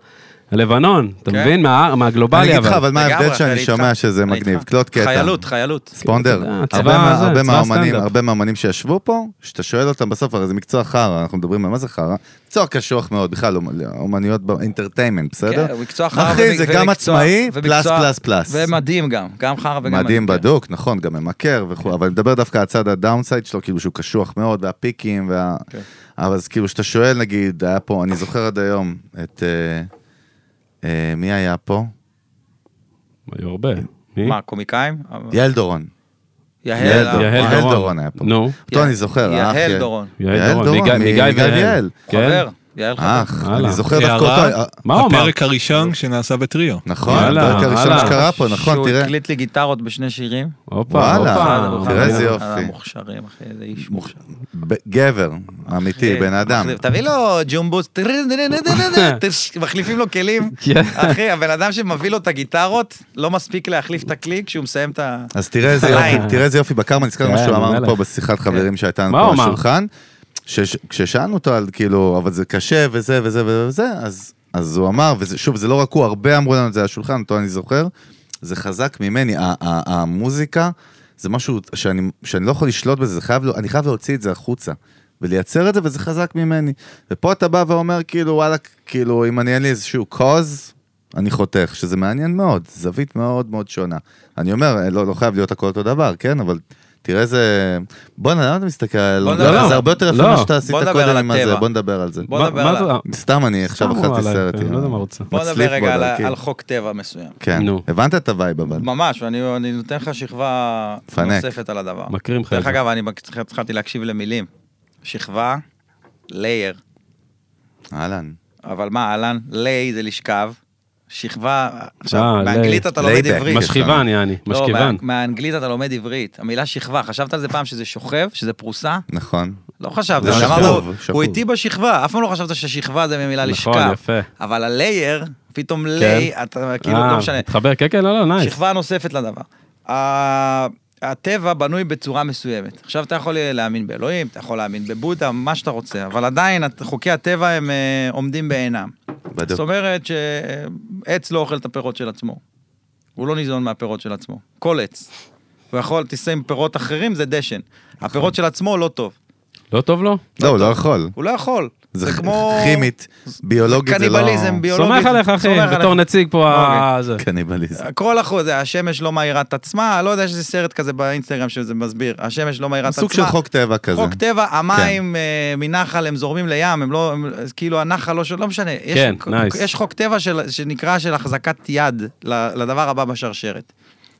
הלבנון, אתה
כן.
מבין? מה-
אני
מהגלובלי,
אגיד לך,
אבל.
אבל מה ההבדל
לגמרי,
שאני
אני
שומע
איתך.
שזה
אני
מגניב?
איתך.
קלוט קטע.
חיילות, חיילות.
ספונדר,
אתה יודע, צבא
הרבה מה-
זה,
הרבה
צבא
מהאומנים,
הסטנדאפ.
הרבה מהאומנים שישבו פה, שאתה שואל אותם בסוף, הרי זה מקצוע חרא, אנחנו מדברים על מה זה חרא, מקצוע קשוח מאוד, בכלל, אומ- אומנויות באינטרטיימנט, בסדר?
כן, הוא מקצוע חרא
אחי, זה
ומק-
גם
ומקצוע-
עצמאי, פלאס,
ומקצוע-
פלאס, פלאס.
ומדהים גם, גם חרא וגם...
מדהים
כן.
בדוק, נכון, גם ממכר וכו', אבל אני מדבר דווקא על הצד הדאונסייד שלו, כאילו שהוא קשוח מאוד, והפיקים, וה...
כן.
אבל אז כאילו שאתה שואל, נגיד, היה פה, אני זוכר עד היום, את... אה, אה, מי היה פה?
היו הרבה. מי?
כן. מה, קומיקאים?
יעל דורון.
יהל.
יעל
אה,
יהל
אה,
יעל
דורון.
דורון היה פה.
נו,
אותו אני זוכר, האח
יהל
ש-
דורון.
יעל דורון,
דורון,
מגיא- מגיא ויעל. כן?
חבר.
אה,
יעל חבר.
אח,
וואלה.
אני זוכר דווקא
הערה,
אותו. אה,
מה הוא אמר?
הפרק הראשון שנעשה בטריו.
נכון,
וואלה,
הפרק הראשון
וואלה.
שקרה פה, נכון,
שהוא
תראה.
הקליט לי גיטרות בשני שירים.
הופה,
וואלה,
הופה.
תראה איזה יופי.
אה, מוכשרים, אחי, איזה איש מוכשר.
ב- גבר,
אה,
אמיתי, בן אדם.
מחליף- תביא לו ג'ומבוס, טררררררררררררררררררררררררר, מחליפים לו כלים.
כן.
אחי, הבן אדם שמביא לו את הגיטרות, לא מספיק להחליף את הכלי כשהוא מסיים את ה...
אז תראה איזה יופי,
ליין.
תראה איזה יופי בקרמה, נזכר מה
כן,
שהוא אמר
מלך.
פה
אה,
בשיחת חברים שהייתה לנו
מה
פה
הוא אמר?
בשולחן. שש- כששאלנו אותו על כאילו, אבל זה קשה וזה וזה וזה וזה, אז- אז הוא אמר, ושוב, זה לא רק הוא, הרבה אמרו לנו את זה על השולחן, אותו אני זוכר, זה חזק ממני, ה- ה- המוזיקה, זה משהו שאני שאני לא יכול לשלוט בזה, זה חייב, לא- אני חייב להוציא את זה החוצה. ולייצר את זה, וזה חזק ממני. ופה אתה בא ואומר, כאילו, וואלה, כאילו, אם אני אין לי איזשהו קוז, אני חותך, שזה מעניין מאוד, זווית מאוד מאוד שונה. אני אומר, לא, לא חייב להיות הכל אותו דבר, כן? אבל תראה איזה... בואנה, למה אתה מסתכל על...
בוא
לא,
נדבר-
לא, זה הרבה יותר יפה
לא.
מה שאתה עשית
בוא נדבר
קודם
על
עם הזה,
הטבע.
בוא נדבר על זה.
בוא
מה-
נדבר
כן. מה
עליו.
אתה-
סתם אני עכשיו
סתם הוא
אכלתי
עליי,
סרט.
כן,
עם
לא יודע
ה-
מה רוצה.
בוא נדבר
מצליף
רגע על ה-
בדרכי.
על חוק טבע מסוים.
כן,
נו.
הבנת את הווייב אבל.
ממש, אני אני נותן לך שכבה
פנק.
נוספת על הדבר.
מקרים לך.
דרך אגב, אני בק- התחלתי להקשיב למילים. שכבה, לייר.
אהלן.
אבל מה, אהלן? ליי זה לשכב. שכבה,
אה,
עכשיו,
ליי.
באנגלית אתה לומד
לייבק.
עברית.
משכיבן, יעני,
לא,
משכיבן.
מה- מהאנגלית אתה לומד עברית. המילה שכבה, חשבת על זה פעם שזה שוכב, שזה פרוסה?
נכון.
לא חשבת,
זה
אבל
שכוב,
אמרנו,
שכוב.
הוא איתי בשכבה, אף פעם לא חשבת ששכבה זה ממילה
נכון,
לשכב.
יפה. כן.
אבל הלייר, פתאום ליי, אתה כאילו,
אה,
לא משנה.
מתחבר, כן, כן, לא, לא, נייס.
שכבה נוספת לדבר. ה- הטבע בנוי בצורה מסוימת. עכשיו אתה יכול להאמין באלוהים, אתה יכול להאמין בבודה, מה שאתה רוצה, אבל עדיין הת- חוקי הטבע הם אה, עומדים בעינם. זאת
בדיוק.
אומרת שעץ לא אוכל את הפירות של עצמו. הוא לא ניזון מהפירות של עצמו. כל עץ. הוא יכול, תיסע עם פירות אחרים, זה דשן.
נכון.
הפירות של עצמו לא טוב.
לא טוב לו?
לא, הוא לא יכול.
הוא לא יכול.
זה
זה
כ-
כמו...
כימית, ביולוגית זה לא...
קניבליזם ביולוגי.
סומך עליך, אחי,
סומך עליך.
בתור נציג פה
אוקיי.
ה... זה.
קניבליזם.
כל החוזה, השמש לא מאירה את עצמה, לא יודע שזה סרט כזה באינסטגרם שזה מסביר, השמש לא מאירה את עצמה.
סוג של חוק טבע כזה.
חוק טבע, המים אה, מנחל הם זורמים לים, הם לא, הם- כאילו הנחל לא, ש- לא משנה. יש-
כן,
ק-
nice.
יש חוק טבע של- שנקרא של החזקת יד ל- לדבר הבא בשרשרת.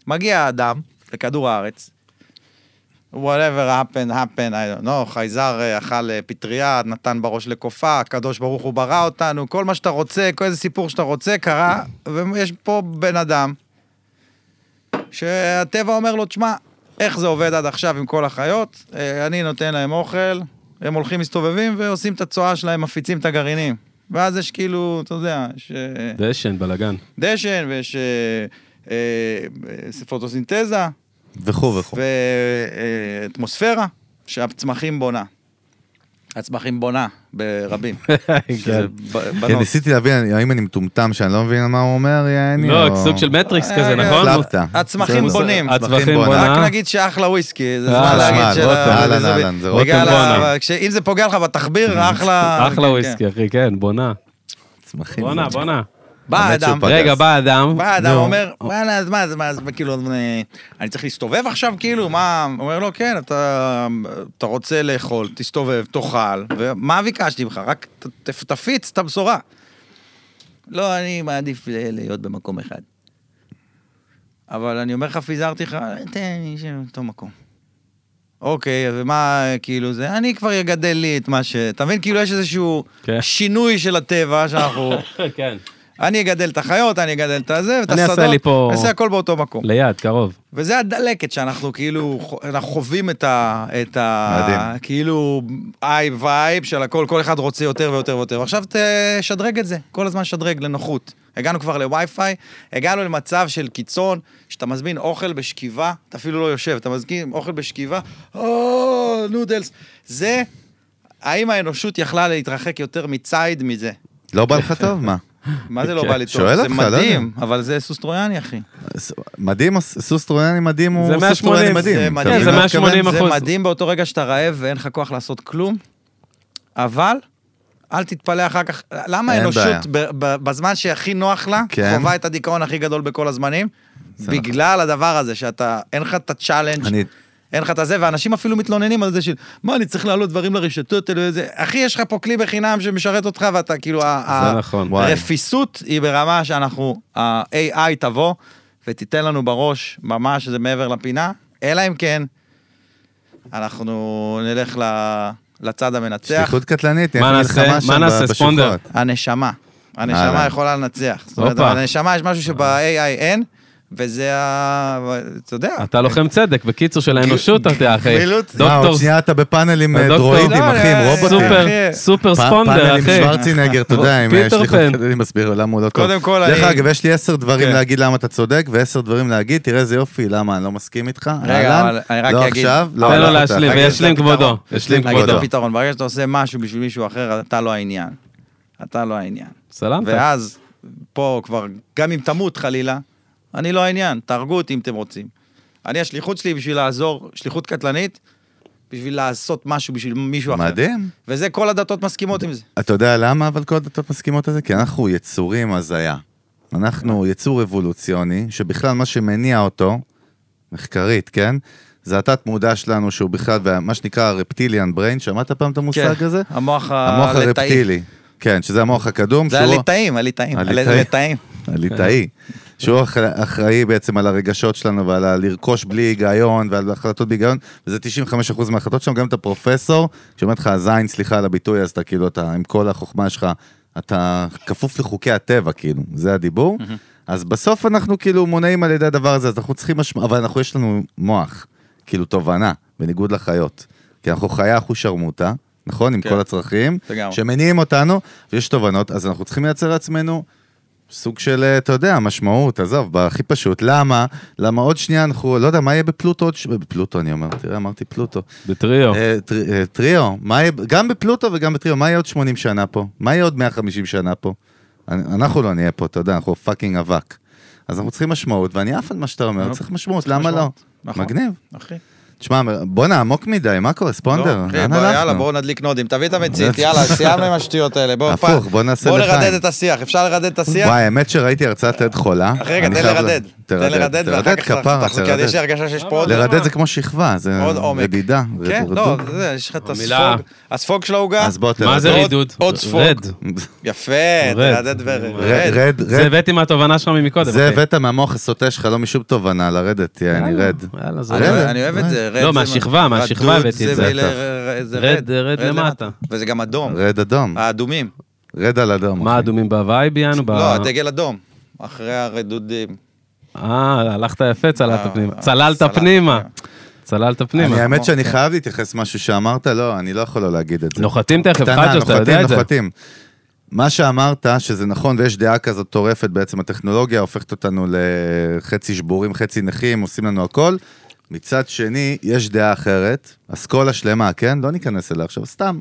מגיע האדם לכדור הארץ, whatever happened, happened, I don't know, חייזר אה, אכל אה, פטריה, נתן בראש לקופה, הקדוש ברוך הוא ברא אותנו, כל מה שאתה רוצה, כל איזה סיפור שאתה רוצה קרה, ויש פה בן אדם, שהטבע אומר לו, תשמע, איך זה עובד עד עכשיו עם כל החיות? אה, אני נותן להם אוכל, הם הולכים, מסתובבים ועושים את הצואה שלהם, מפיצים את הגרעינים. ואז יש כאילו, אתה יודע, יש אה,
דשן, בלאגן.
דשן ויש אה, אה, אה, פוטוסינתזה.
וכו' וכו'.
ואטמוספירה שהצמחים בונה. הצמחים בונה ברבים.
כן.
שזה ב-
כן,
בנות.
ניסיתי להבין, האם אני מטומטם שאני לא מבין מה הוא אומר, יעני?
לא,
או-
סוג של מטריקס כזה,
אה,
נכון?
הצלחת.
הצמחים
בסדר.
בונים.
הצמחים
רק
בונה.
נגיד שאחלה וויסקי, זה
אהלן,
אה,
זמן להגיד לא, של...
רותם,
ה-
אהלן,
זה-
אהלן, זה
בגלל
רותם
ה-
בונה.
כש- אם זה פוגע לך בתחביר,
Mm-hmm.
אחלה...
אחלה
כן, כן.
וויסקי, אחי, כן, בונה.
צמחים.
בונה, בונה.
בא
האמת שהוא
אדם,
פגז.
רגע, בא אדם.
בא אדם
נו.
אומר, וואלה, אז מה, אז מה, אז מה, כאילו, אה, אני צריך להסתובב עכשיו, כאילו, מה, הוא אומר לו, כן, אתה, אתה רוצה לאכול, תסתובב, תאכל, ומה ביקשתי ממך? רק ת, ת, תפיץ את הבשורה. לא, אני מעדיף ל- להיות במקום אחד. אבל אני אומר לך, פיזרתי לך, תן לי שם אותו מקום. אוקיי, ומה, כאילו, זה, אני כבר אגדל לי את מה ש... אתה מבין, כאילו, יש איזשהו
כן.
שינוי של הטבע שאנחנו...
כן.
אני אגדל את החיות, אני אגדל את הזה, ואת
אני אעשה
השדות,
לי פה-
אני אעשה הכל באותו מקום.
ליד, קרוב.
וזה הדלקת שאנחנו כאילו, חו- אנחנו חווים את ה... את ה...
מדהים.
כאילו, איי וייב של הכל, כל אחד רוצה יותר ויותר ויותר. ועכשיו תשדרג את זה, כל הזמן שדרג לנוחות. הגענו כבר לווי-פיי, הגענו למצב של קיצון, שאתה מזמין אוכל בשכיבה, אתה אפילו לא יושב, אתה מזמין אוכל בשכיבה, או, נודלס. זה, האם האנושות יכלה להתרחק יותר מציד מזה?
לא בא לך טוב? מה?
מה זה לא
כן.
בא לי טוב?
שואל
זה
אותך, לא יודע.
מדהים, אבל זה סוס טרויאני, אחי.
ס- מדהים, הס- סוס טרויאני מדהים הוא
זה
סוס
180.
טרויאני
זה
מדהים. אתה
מדהים.
מבין
זה
מה אני
180.
מתכוון?
זה
אחוז.
מדהים באותו רגע שאתה רעב ואין לך כוח לעשות כלום, אבל אל תתפלא אחר כך. למה
אין
האנושות ב- ב- בזמן שהכי נוח לה,
כן.
חווה את הדיכאון הכי גדול בכל הזמנים?
זה
בגלל הדבר הזה שאתה, אין לך את הצ'אלנג',
אני-
אין לך את הזה, ואנשים אפילו מתלוננים על זה של, מה, אני צריך להעלות דברים לרשתות, אלו איזה... אחי, יש לך פה כלי בחינם שמשרת אותך, ואתה כאילו, ה- ה-
לא
זה נכון.
וואי.
רפיסות היא ברמה שאנחנו, ה-AI תבוא ותיתן לנו בראש ממש זה מעבר לפינה, אלא אם כן, אנחנו נלך ל- לצד המנצח,
שליחות קטלנית, נהיה
מה
פה
נעשה?
מלחמה
מה
שם
נעשה,
בשוחות.
ספונדר?
הנשמה. הנשמה
אהלן.
יכולה לנצח. זאת אומרת,
הופה.
הנשמה יש משהו שב-AI אין, וזה ה... אתה יודע.
אתה לוחם צדק, בקיצור של האנושות, אתה אחי.
גמילות.
מה, לא, עוד
דוקטור
שנייה אתה בפאנלים אה,
דוקטור-
דרואידים,
לא,
אחי, עם
אה,
רובוטים.
סופר.
סופר, סופר
פ-
ספונדר,
פאנל עם
אחי.
שוורצינגר, אתה יודע, עם
פיטר
אה, שליחות
פן.
קטלנית, אני מסביר למה הוא לא טוב.
קודם כל,
דרך
אני-
אגב, יש לי עשר דברים
כן.
להגיד למה אתה צודק, ועשר דברים להגיד, תראה איזה יופי, למה אני לא מסכים איתך.
רגע,
אהלן,
אבל אני רק
לא
אגיד-
עכשיו, לא,
תן
לא,
לו
אתה-
להשלים,
אתה-
תגיד,
וישלים
זה
כבודו.
הפתרון.
ישלים
נגיד
כבודו.
הפתרון, ברגע שאתה עושה משהו בשביל מישהו אחר, אתה לא העניין. אתה לא העניין.
סלמת.
ואז, פה כבר, גם אם תמות חלילה, אני לא העניין, תהרגו אותי אם אתם רוצים. אני, השליחות שלי היא בשביל לעזור, שליחות קטלנית, בשביל לעשות משהו בשביל מישהו אחר.
מדהים.
וזה, כל הדתות מסכימות עם זה.
אתה יודע למה אבל כל הדתות מסכימות לזה? כי אנחנו יצורים הזיה. אנחנו יצור אבולוציוני, שבכלל מה שמניע אותו, מחקרית, כן? זה התת מודע שלנו שהוא בכלל, מה שנקרא הרפטיליאן בריין, שמעת פעם את המושג הזה?
כן. המוח
המוח
הליטאי.
הרפטילי. כן, שזה המוח הקדום,
אה, זה
שהוא
הליטאים, הליטאים.
הליטאי.
הליטאים.
הליטאי, שהוא אח- אחראי בעצם על הרגשות שלנו ועל ה- לרכוש בלי היגיון ועל החלטות בהיגיון, וזה 95% מההחלטות שלנו, גם אתה פרופסור, שאומר לך זין, סליחה על הביטוי, אז אתה כאילו, אתה עם כל החוכמה שלך, אתה כפוף לחוקי הטבע, כאילו, זה הדיבור.
Mm-hmm.
אז בסוף אנחנו כאילו מונעים על ידי הדבר הזה, אז אנחנו צריכים משמעות, אבל אנחנו, יש לנו מוח, כאילו תובנה, בניגוד לחיות. כי אנחנו חיה אחושרמוטה, נכון? עם
כן.
כל הצרכים,
לגמרי.
שמניעים אותנו, ויש תובנות, אז אנחנו צריכים לייצר לעצמנו סוג של, אה, אתה יודע, משמעות, עזוב, הכי פשוט. למה? למה עוד שנייה אנחנו, לא יודע, מה יהיה בפלוטו עוד ש... בפלוטו אני אומר, תראה, אמרתי פלוטו.
לא.
בטריו.
אה, טר- אה, טריו, מה יהיה, גם בפלוטו וגם בטריו, מה יהיה עוד 80 שנה פה? מה יהיה עוד 150 שנה פה? אנ- אנחנו לא נהיה פה, אתה יודע, אנחנו פאקינג אבק. אז אנחנו צריכים משמעות, ואני עף על מה שאתה אומר,
נכון.
צריך משמעות, למה לא?
משמעות. נכון.
מגניב.
אחי.
תשמע, בואנה, עמוק מדי, מה קורה? ספונדר,
לא, אחי,
לאן
בוא, יאללה,
הלכנו?
בואו נדליק נודים, תביא את המצית, יאללה, סיימנו עם השטויות האלה. בוא,
הפוך,
פעם-
בוא נעשה
בוא
לחיים.
נרדד את השיח, אפשר לרדד את השיח?
וואי, האמת שראיתי הרצאת עד חולה.
אחי, רגע,
אני
תן
חייב ל-
לרדד. תן לרדד, ואחר
תרדד,
כך
כפרה,
תחזור, כי אז יש לי
תרדד.
הרגשה שיש פה עוד...
לרדד זה כמו שכבה, זה
עוד עומק.
רדידה.
כן, לא,
רדוד.
זה, יש לך את
המילה.
הספוג, הספוג של העוגה.
אז בוא תרדד.
מה זה
עוד-
רידוד?
עוד ספוג.
רד.
יפה,
רד.
תרדד
ר-
ורד.
רד,
זה
רד.
הבאתי מהתובנה שלך מקודם.
זה
אחי.
הבאת מהמוח הסוטה שלך, לא משום תובנה, לרדת, יעני, רד.
יאללה, זה
אני
רד.
רד.
אוהב- אני אוהב את זה, רד.
לא,
זה
מהשכבה,
מה-
מהשכבה
רדוד
הבאתי את
זה,
מילה-
בטח.
ר- זה
רד, רד למטה.
וזה גם אדום.
רד אדום,
האדומים.
רד על אדום.
מה
אחי.
אדומים בווייב יענו? ב-
לא, הדגל אדום. אחרי הרדודים.
אה, הלכת יפה, צללת
אה,
פנימה.
אה,
צללת
צללתי,
פנימה. צללת פנימה.
אני האמת שאני
כן.
חייב להתייחס משהו שאמרת, לא, אני לא יכול לא להגיד את זה.
נוחתים תכף,
קטנה,
חג'ו, אתה
נוחתים,
יודע את זה.
נוחתים. מה שאמרת, שזה נכון, ויש דעה כזאת טורפת בעצם, הטכנולוגיה הופכת אותנו לחצי שבורים, חצי נכים, עושים לנו הכל. מצד שני, יש דעה אחרת, אסכולה שלמה, כן? לא ניכנס אליה עכשיו, סתם,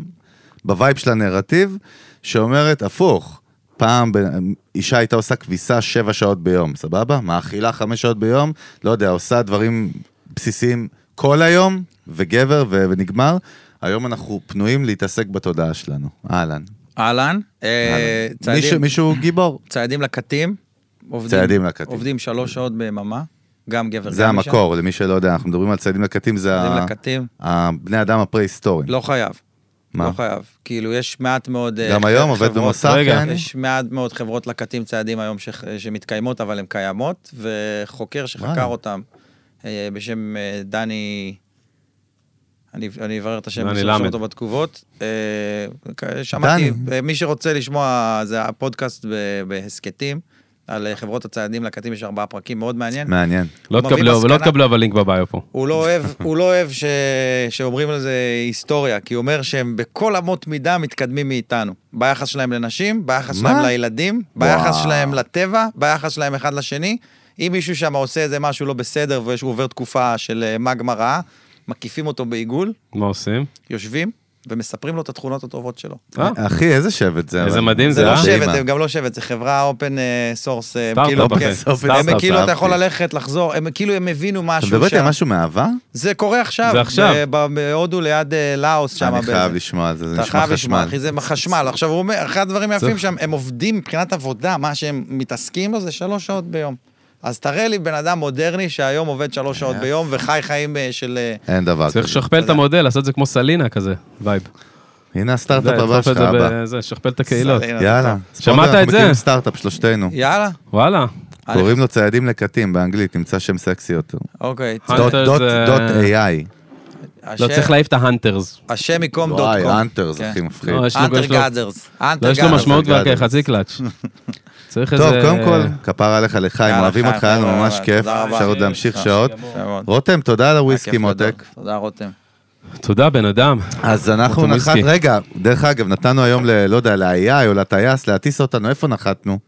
בווייב של הנרטיב, שאומרת, הפוך, פעם בן- אישה הייתה עושה כביסה שבע שעות ביום, סבבה? מאכילה חמש שעות ביום, לא יודע, עושה דברים בסיסיים כל היום, וגבר, ו- ונגמר. היום אנחנו פנויים להתעסק בתודעה שלנו. אהלן.
אהלן. אה,
אהלן.
צעדים- אוקיי,
מישהו- מישהו גיבור.
צעדים לקטים. עובדים-
צעדים לקטים.
עובדים שלוש שעות ביממה. גם גבר, גם אישה.
זה המקור, למי שלא יודע, אנחנו מדברים על צעדים לקטים, זה
צעדים
ה-
לקטים.
הבני אדם הפרה-היסטוריים.
לא חייב.
מה?
לא חייב. כאילו, יש מעט מאוד... אה,
גם היום עובד
חברות-
במוסך, כן?
רגע.
יעני?
יש מעט מאוד חברות לקטים צעדים היום ש... שמתקיימות, אבל הן קיימות, וחוקר
וואלה.
שחקר אותם אה, בשם אה, דני... אני, אני אברר את השם,
דני
אני אשאיר
למד.
אותו בתגובות. אה, כ- שמעתי,
דני.
אה, מי שרוצה לשמוע, זה הפודקאסט ב- בהסכתים, על אה, חברות הצעדים לקטים, יש ארבעה פרקים, מאוד מעניין.
מעניין.
לא
הוא מביא
תקבלו, לא
מסקנה-
תקבלו אבל לינק בביו פה.
הוא לא אוהב, הוא לא אוהב ש... שאומרים על זה היסטוריה, כי הוא אומר שהם בכל אמות מידה מתקדמים מאיתנו. ביחס שלהם לנשים, ביחס
מה?
שלהם לילדים, ביחס
וואו.
שלהם לטבע, ביחס שלהם אחד לשני. אם מישהו שם עושה איזה משהו לא בסדר והוא עובר תקופה של אה, מגמה רעה, מקיפים אותו בעיגול,
מה עושים?
יושבים ומספרים לו את התכונות הטובות שלו.
אה,
אחי, איזה שבט זה.
איזה
אבל.
מדהים
זה
זה,
לא
אה?
שבט,
אימא.
הם גם לא שבט, זה חברה אופן סורס,
סטארט-אפ,
כאילו,
אוקיי.
כן.
סטארט-אפ,
הם כאילו, אתה
אהבתי.
יכול ללכת, לחזור, הם כאילו, הם הבינו
אתה
משהו
מדבר איתי על משהו מהעבר?
זה קורה עכשיו.
זה עכשיו.
ב- ב- בהודו ליד אה, לאוס שם.
אני
באיזה-
חייב לשמוע על זה, זה
אתה
נשמע
חייב לשמוע,
חשמל.
אחי, זה חשמל. עכשיו, הוא אומר, אחד הדברים היפים שם, הם עובדים מבחינת עבודה, מה שהם מתעסקים לו זה שלוש שעות ביום. אז תראה לי בן אדם מודרני שהיום עובד שלוש שעות ביום וחי חיים אה, של... אה,
אין דבר
צריך
כזה.
לשכפל את המודל, לעשות את זה כמו סלינה כזה, וייב.
הנה הסטארט-אפ
די,
הבא
לדחוף
שלך,
את זה
הבא.
בזה, לשכפל את הקהילות.
סלינה,
יאללה.
טוב.
ספונדר,
שמעת
אנחנו
את זה?
מקימים סטארט-אפ, שלושתנו.
יאללה,
וואלה. לא
קוראים לו ציידים לקטים באנגלית, תמצא שם סקסי יותר.
אוקיי.
Hunters, אה,
דוט איי.
לא,
השם-
צריך להעיף את ההאנטרס.
השם ייקום דוט
וואי,
קום.
האנטרס,
כן.
הכי מפחיד.
לא, יש לו-
אנטר
יש לו-
גאדרס.
לא,
אנטר
יש לו
גאדרס.
משמעות כבר
גאדרס.
כחצי קלאץ'. צריך איזה...
טוב, קודם כל, כפר עליך לחיים,
יאללה,
אוהבים
חיים,
אותך, היה לנו
תודה
ממש
רבה,
כיף,
תודה רבה.
אפשר עוד להמשיך שעות.
יפה מאוד.
רותם, תודה על הוויסקי
כיף גדול.
מותק.
תודה, רותם.
תודה, בן אדם.
אז אנחנו
רותם
נחת,
וויסקי.
רגע, דרך אגב, נתנו היום, ל- לא יודע, ל-AI או לטייס להטיס אותנו, איפה נחתנו?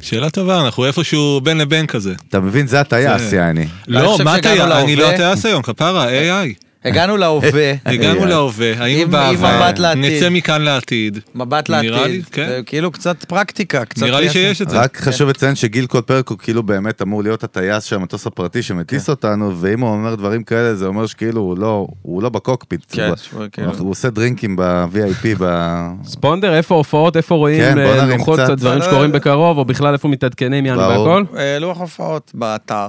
שאלה טובה, אנחנו איפשהו בין לבין כזה.
אתה מבין, זה הטייס,
זה-
יעני.
לא,
חושב
מה
שהגענו
הטייס? אני לא
להווה.
הטייס היום, כפרה, AI.
הגענו להווה.
הגענו
AI.
להווה,
עם- עם
היינו בעבר,
מבט לעתיד.
נצא מכאן לעתיד.
מבט
נראה
לעתיד.
לי, כן.
זה כאילו קצת פרקטיקה, קצת...
נראה לי
יפה.
שיש את זה.
כן.
רק חשוב לציין שגיל כל פרק הוא כאילו באמת אמור להיות הטייס של המטוס הפרטי
כן.
שמטיס אותנו, ואם הוא אומר דברים כאלה, זה אומר שכאילו הוא לא- הוא לא בקוקפיט.
כן,
הוא-
שהוא כאילו-
הוא עושה דרינקים ב-VIP, ב...
ספונדר, איפה הופעות, איפה רואים
כן, בוא
אה,
נרים
לוחות,
קצת.
דברים
לא,
שקורים
לא, לא.
בקרוב, או בכלל איפה מתעדכנים, יאנו
ברור.
והכל?
אה, לוח הופעות באתר,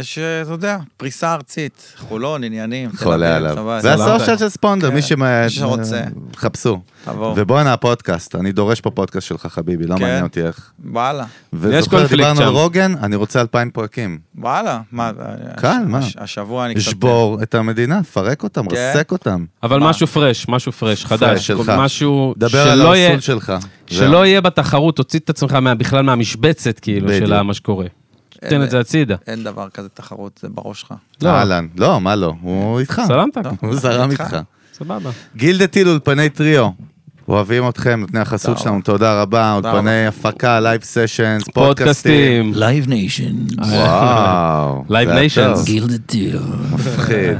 יש, אה, אתה יודע, פריסה ארצית, חולון, עניינים, תל אביב,
חולה עליו.
סבבה.
זה
סבבה.
הסושיאל של ספונדר,
כן,
מי שמ-
שרוצה.
חפשו.
תבואו.
ובואנה הפודקאסט, אני דורש פה פודקאסט שלך חביבי, לא
כן.
מעניין אותי איך.
וואלה,
וזוכר,
קונפליקט
דיברנו על
שם.
רוגן, אני רוצה אלפיים פרקים.
וואלה, מה, אה,
קל,
הש-
מה?
הש- השבוע אני קצת...
שבור את המדינה, פרק אותם,
כן.
רסק אותם.
אבל
מה?
משהו פרש, משהו פרש,
פרש
חדש.
שלך.
משהו
דבר על
שלא יהיה...
הרסול שלך. זהו.
שלא יהיה בתחרות, תוציא את עצמך מה- בכלל מהמשבצת, כאילו,
בדיוק.
של מה שקורה.
אה,
תן את זה הצידה.
אין דבר כזה תחרות, זה בראש שלך.
אהלן, לא, מה לא, הוא איתך.
סלמת?
הוא זרם
איתך.
איתך.
סבבה.
גילדה טיל אולפני טריו. אוהבים אתכם, נותני החסות
תודה
שלנו, תודה רבה,
תודה
אולפני
רבה.
הפקה, לייב סשנס, פודקאסטים.
פודקאסטים,
Live Nation,
וואו.
Live
זה היה
Nations.
טוב.
Gilded Deal,
מפחיד.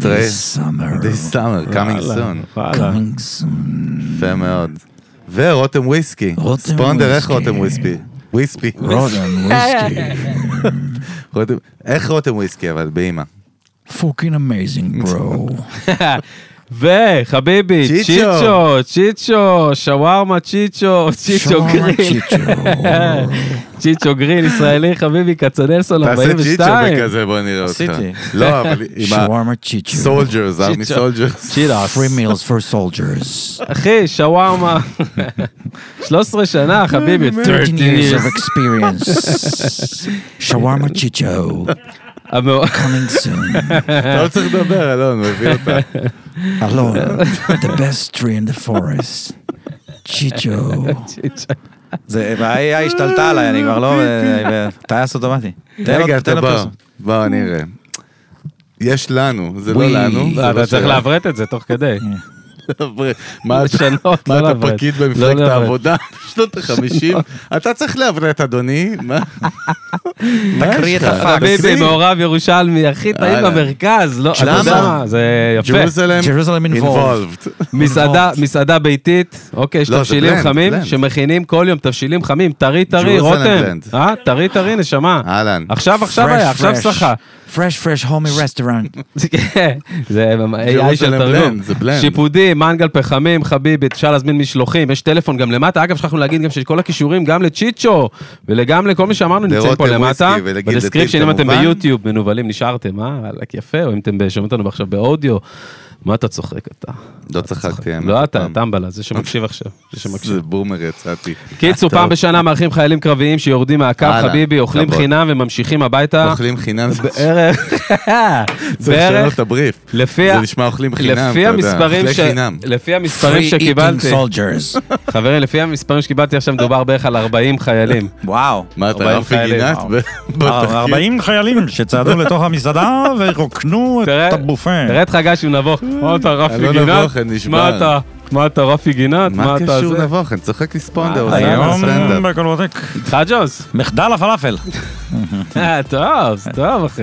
תראה,
this summer,
This summer, coming soon.
וואלה.
coming soon.
יפה מאוד. ורותם וויסקי.
רותם
ספונדר, איך
וויסקי.
רותם וויסקי? וויספי.
Rodan whiskey,
רותם- איך רותם וויסקי, אבל באימא.
fucking amazing, bro.
וחביבי,
צ'יצ'ו.
צ'יצ'ו, צ'יצ'ו, שווארמה צ'יצ'ו, צ'יצ'ו
Shawarma
גריל,
chicho.
צ'יצ'ו גריל ישראלי, חביבי, כצנלסון
תעשה צ'יצ'ו
42.
וכזה, בוא נראה אותך.
עשיתי.
לא, אבל עם ה...
Shawarma chicho.
סולג'רס, ארמי
צ'יצ'ו.
סולג'רס.
צ'ילאס.
Free meals for soldiers.
אחי, שווארמה. 13 שנה, חביבי.
13 years of
13 years.
experience. Shawarma chicho.
המאו-
Coming soon.
אתה לא צריך לדבר, אלון, מביא אותה.
Alone. The best tree in the forest. Chicho.
זה, והיא השתלטה עליי, אני כבר לא... טייס אוטומטי. תן לו-
רגע,
תן
אתה
לו
בא.
פרסום.
בוא, נראה. יש לנו, זה לא
וואי.
לנו. זה לא
לא, אתה צריך
אה,
שלנו.
לעברת את זה תוך כדי.
חבר'ה, מה אתה-
לשנות,
מה
לא
אתה
לעבוד.
פקיד
לא
במפלגת
לעבוד. לא.
העבודה בשנות החמישים? אתה צריך לעברת, אדוני. מה? מה
תקריא
יש
את
לך?
הפקס.
חביבי,
תקריא.
מעורב ירושלמי, הכי טעים
יאללה.
במרכז. לא, אתה יודע
אה, למה?
מה, זה יפה.
Jerusalem
Jerusalem involved.
involved.
מסעדה, מסעדה ביתית, אוקיי, יש
לא, זה
תבשילים
blend,
חמים,
blend.
שמכינים כל יום תבשילים חמים, טרי טרי,
Jerusalem
רותם.
blend. אה,
אה? טרי טרי, נשמה.
אהלן.
עכשיו, עכשיו
Fresh,
היה, עכשיו
fresh.
סחה.
Fresh, fresh, homie restaurant.
כן, זה AI של
Jerusalem
תרגום.
לא blend, זה blend.
שיפודים, מנגל פחמים, חביבי, אפשר להזמין משלוחים, יש טלפון גם למטה. אגב, שכחנו להגיד גם שכל הכישורים, גם לצ'יצ'ו, וגם לכל מי שאמרנו, נמצאים פה
לרותם
למטה.
וויסקי ולגיל
בדסקריפשן,
דתיל,
אם אתם
כמובן.
ביוטיוב, מנוולים נשארתם, אה? וואלכ, יפה, או אם אתם שומעים אותנו עכשיו באודיו. מה אתה צוחק אתה?
לא צחקתי. האמת,
לא אתה,
הפעם.
טמבלה, זה שמקשיב עכשיו. זה שמקשיב.
זה בומר יצאתי.
קיצור,
טוב.
פעם בשנה מארחים חיילים קרביים שיורדים מהקו,
הלאה,
חביבי, אוכלים
כבוד.
חינם וממשיכים הביתה.
אוכלים חינם,
בערך,
צריך לשנות
בערך,
את הבריף.
לפי, ה-
זה נשמע אוכלים חינם, אתה
לפי
יודע.
המספרים,
אוכלי
ש...
חינם.
לפי המספרים
Free eating
שקיבלתי,
soldiers.
חברים, לפי המספרים שקיבלתי עכשיו מדובר בערך על 40 חיילים.
וואו.
מה אתה, לא
ארבעים
רפי
חיילים,
גינת?
וואו.
ב- בתחקיר?
40 חיילים שצעדו לתוך המסעדה ורוקנו
תראה-
את הבופה.
תראה את חגי שהוא נבוך, מה אתה רפי
אלון
גינת?
אבוכן נשבר.
מה אתה? מה אתה רפי גינת?
מה
מה אתה
קשור
זה?
נבוך? אני צוחק לספונדר,
מה,
זה היה
היום
בסטנדאפ.
בקולוטק.
חג'וס?
מחדל הפלאפל.
אה, טוב, טוב אחי.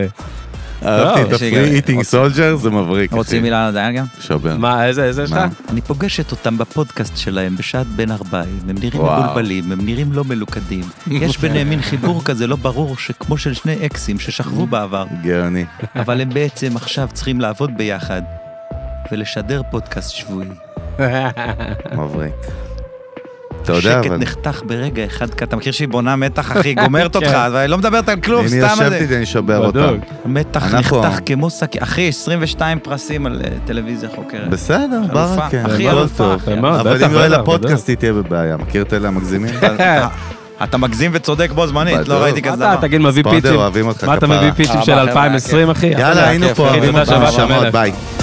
לא,
אהבתי את
יש לי גם-
הפרי איטינג
אוקיי.
סולג'ר, זה מבריק.
רוצים
אחי.
מילה על אה, כן? הדיין גם?
שובר.
מה, איזה, איזה יש לך?
מה?
אני פוגשת אותם בפודקאסט שלהם בשעת בין ארבעים, הם נראים
וואו.
מבולבלים, הם נראים לא מלוכדים. יש ביניהם מין חיבור כזה לא ברור, שכמו של שני אקסים ששכבו בעבר,
גאוני.
אבל הם בעצם עכשיו צריכים לעבוד ביחד ולשדר פודקאסט שבועי.
מבריק. תודה,
שקט
אבל...
נחתך ברגע אחד
אתה מכיר שהיא בונה מתח, אחי, גומרת אותך, והיא לא מדברת על כלום,
כן. אני
סתם על
ישבתי
זה.
ואני שובר
בדוק.
אותם.
מתח
אנחנו-
נחתך כמו סכין.
אחי, 22 פרסים על אה, טלוויזיה חוקרת.
בסדר, כן,
אלופה.
ברכה.
אחי,
הכל
אלופה,
טוב.
אחי.
מאוד,
אבל
בטח,
אם לא יהיה
בטח,
לה פודקאסט, היא תהיה בבעיה. מכיר את אלה המגזימים?
אתה מגזים וצודק בו זמנית,
בדיוק.
לא ראיתי
מה
כזה
אתה,
דבר.
אתה תגיד מביא
ספונדר,
פיצ'ים?
אוהבים אותך
מה אתה
כפרה.
מביא פיצ'ים של
אה, בחברה,
2020 אחי?
יאללה, היינו פה,
אחי,
אוהבים
תודה
אותך,
שבאת,
נשמות,
המלך.
ביי.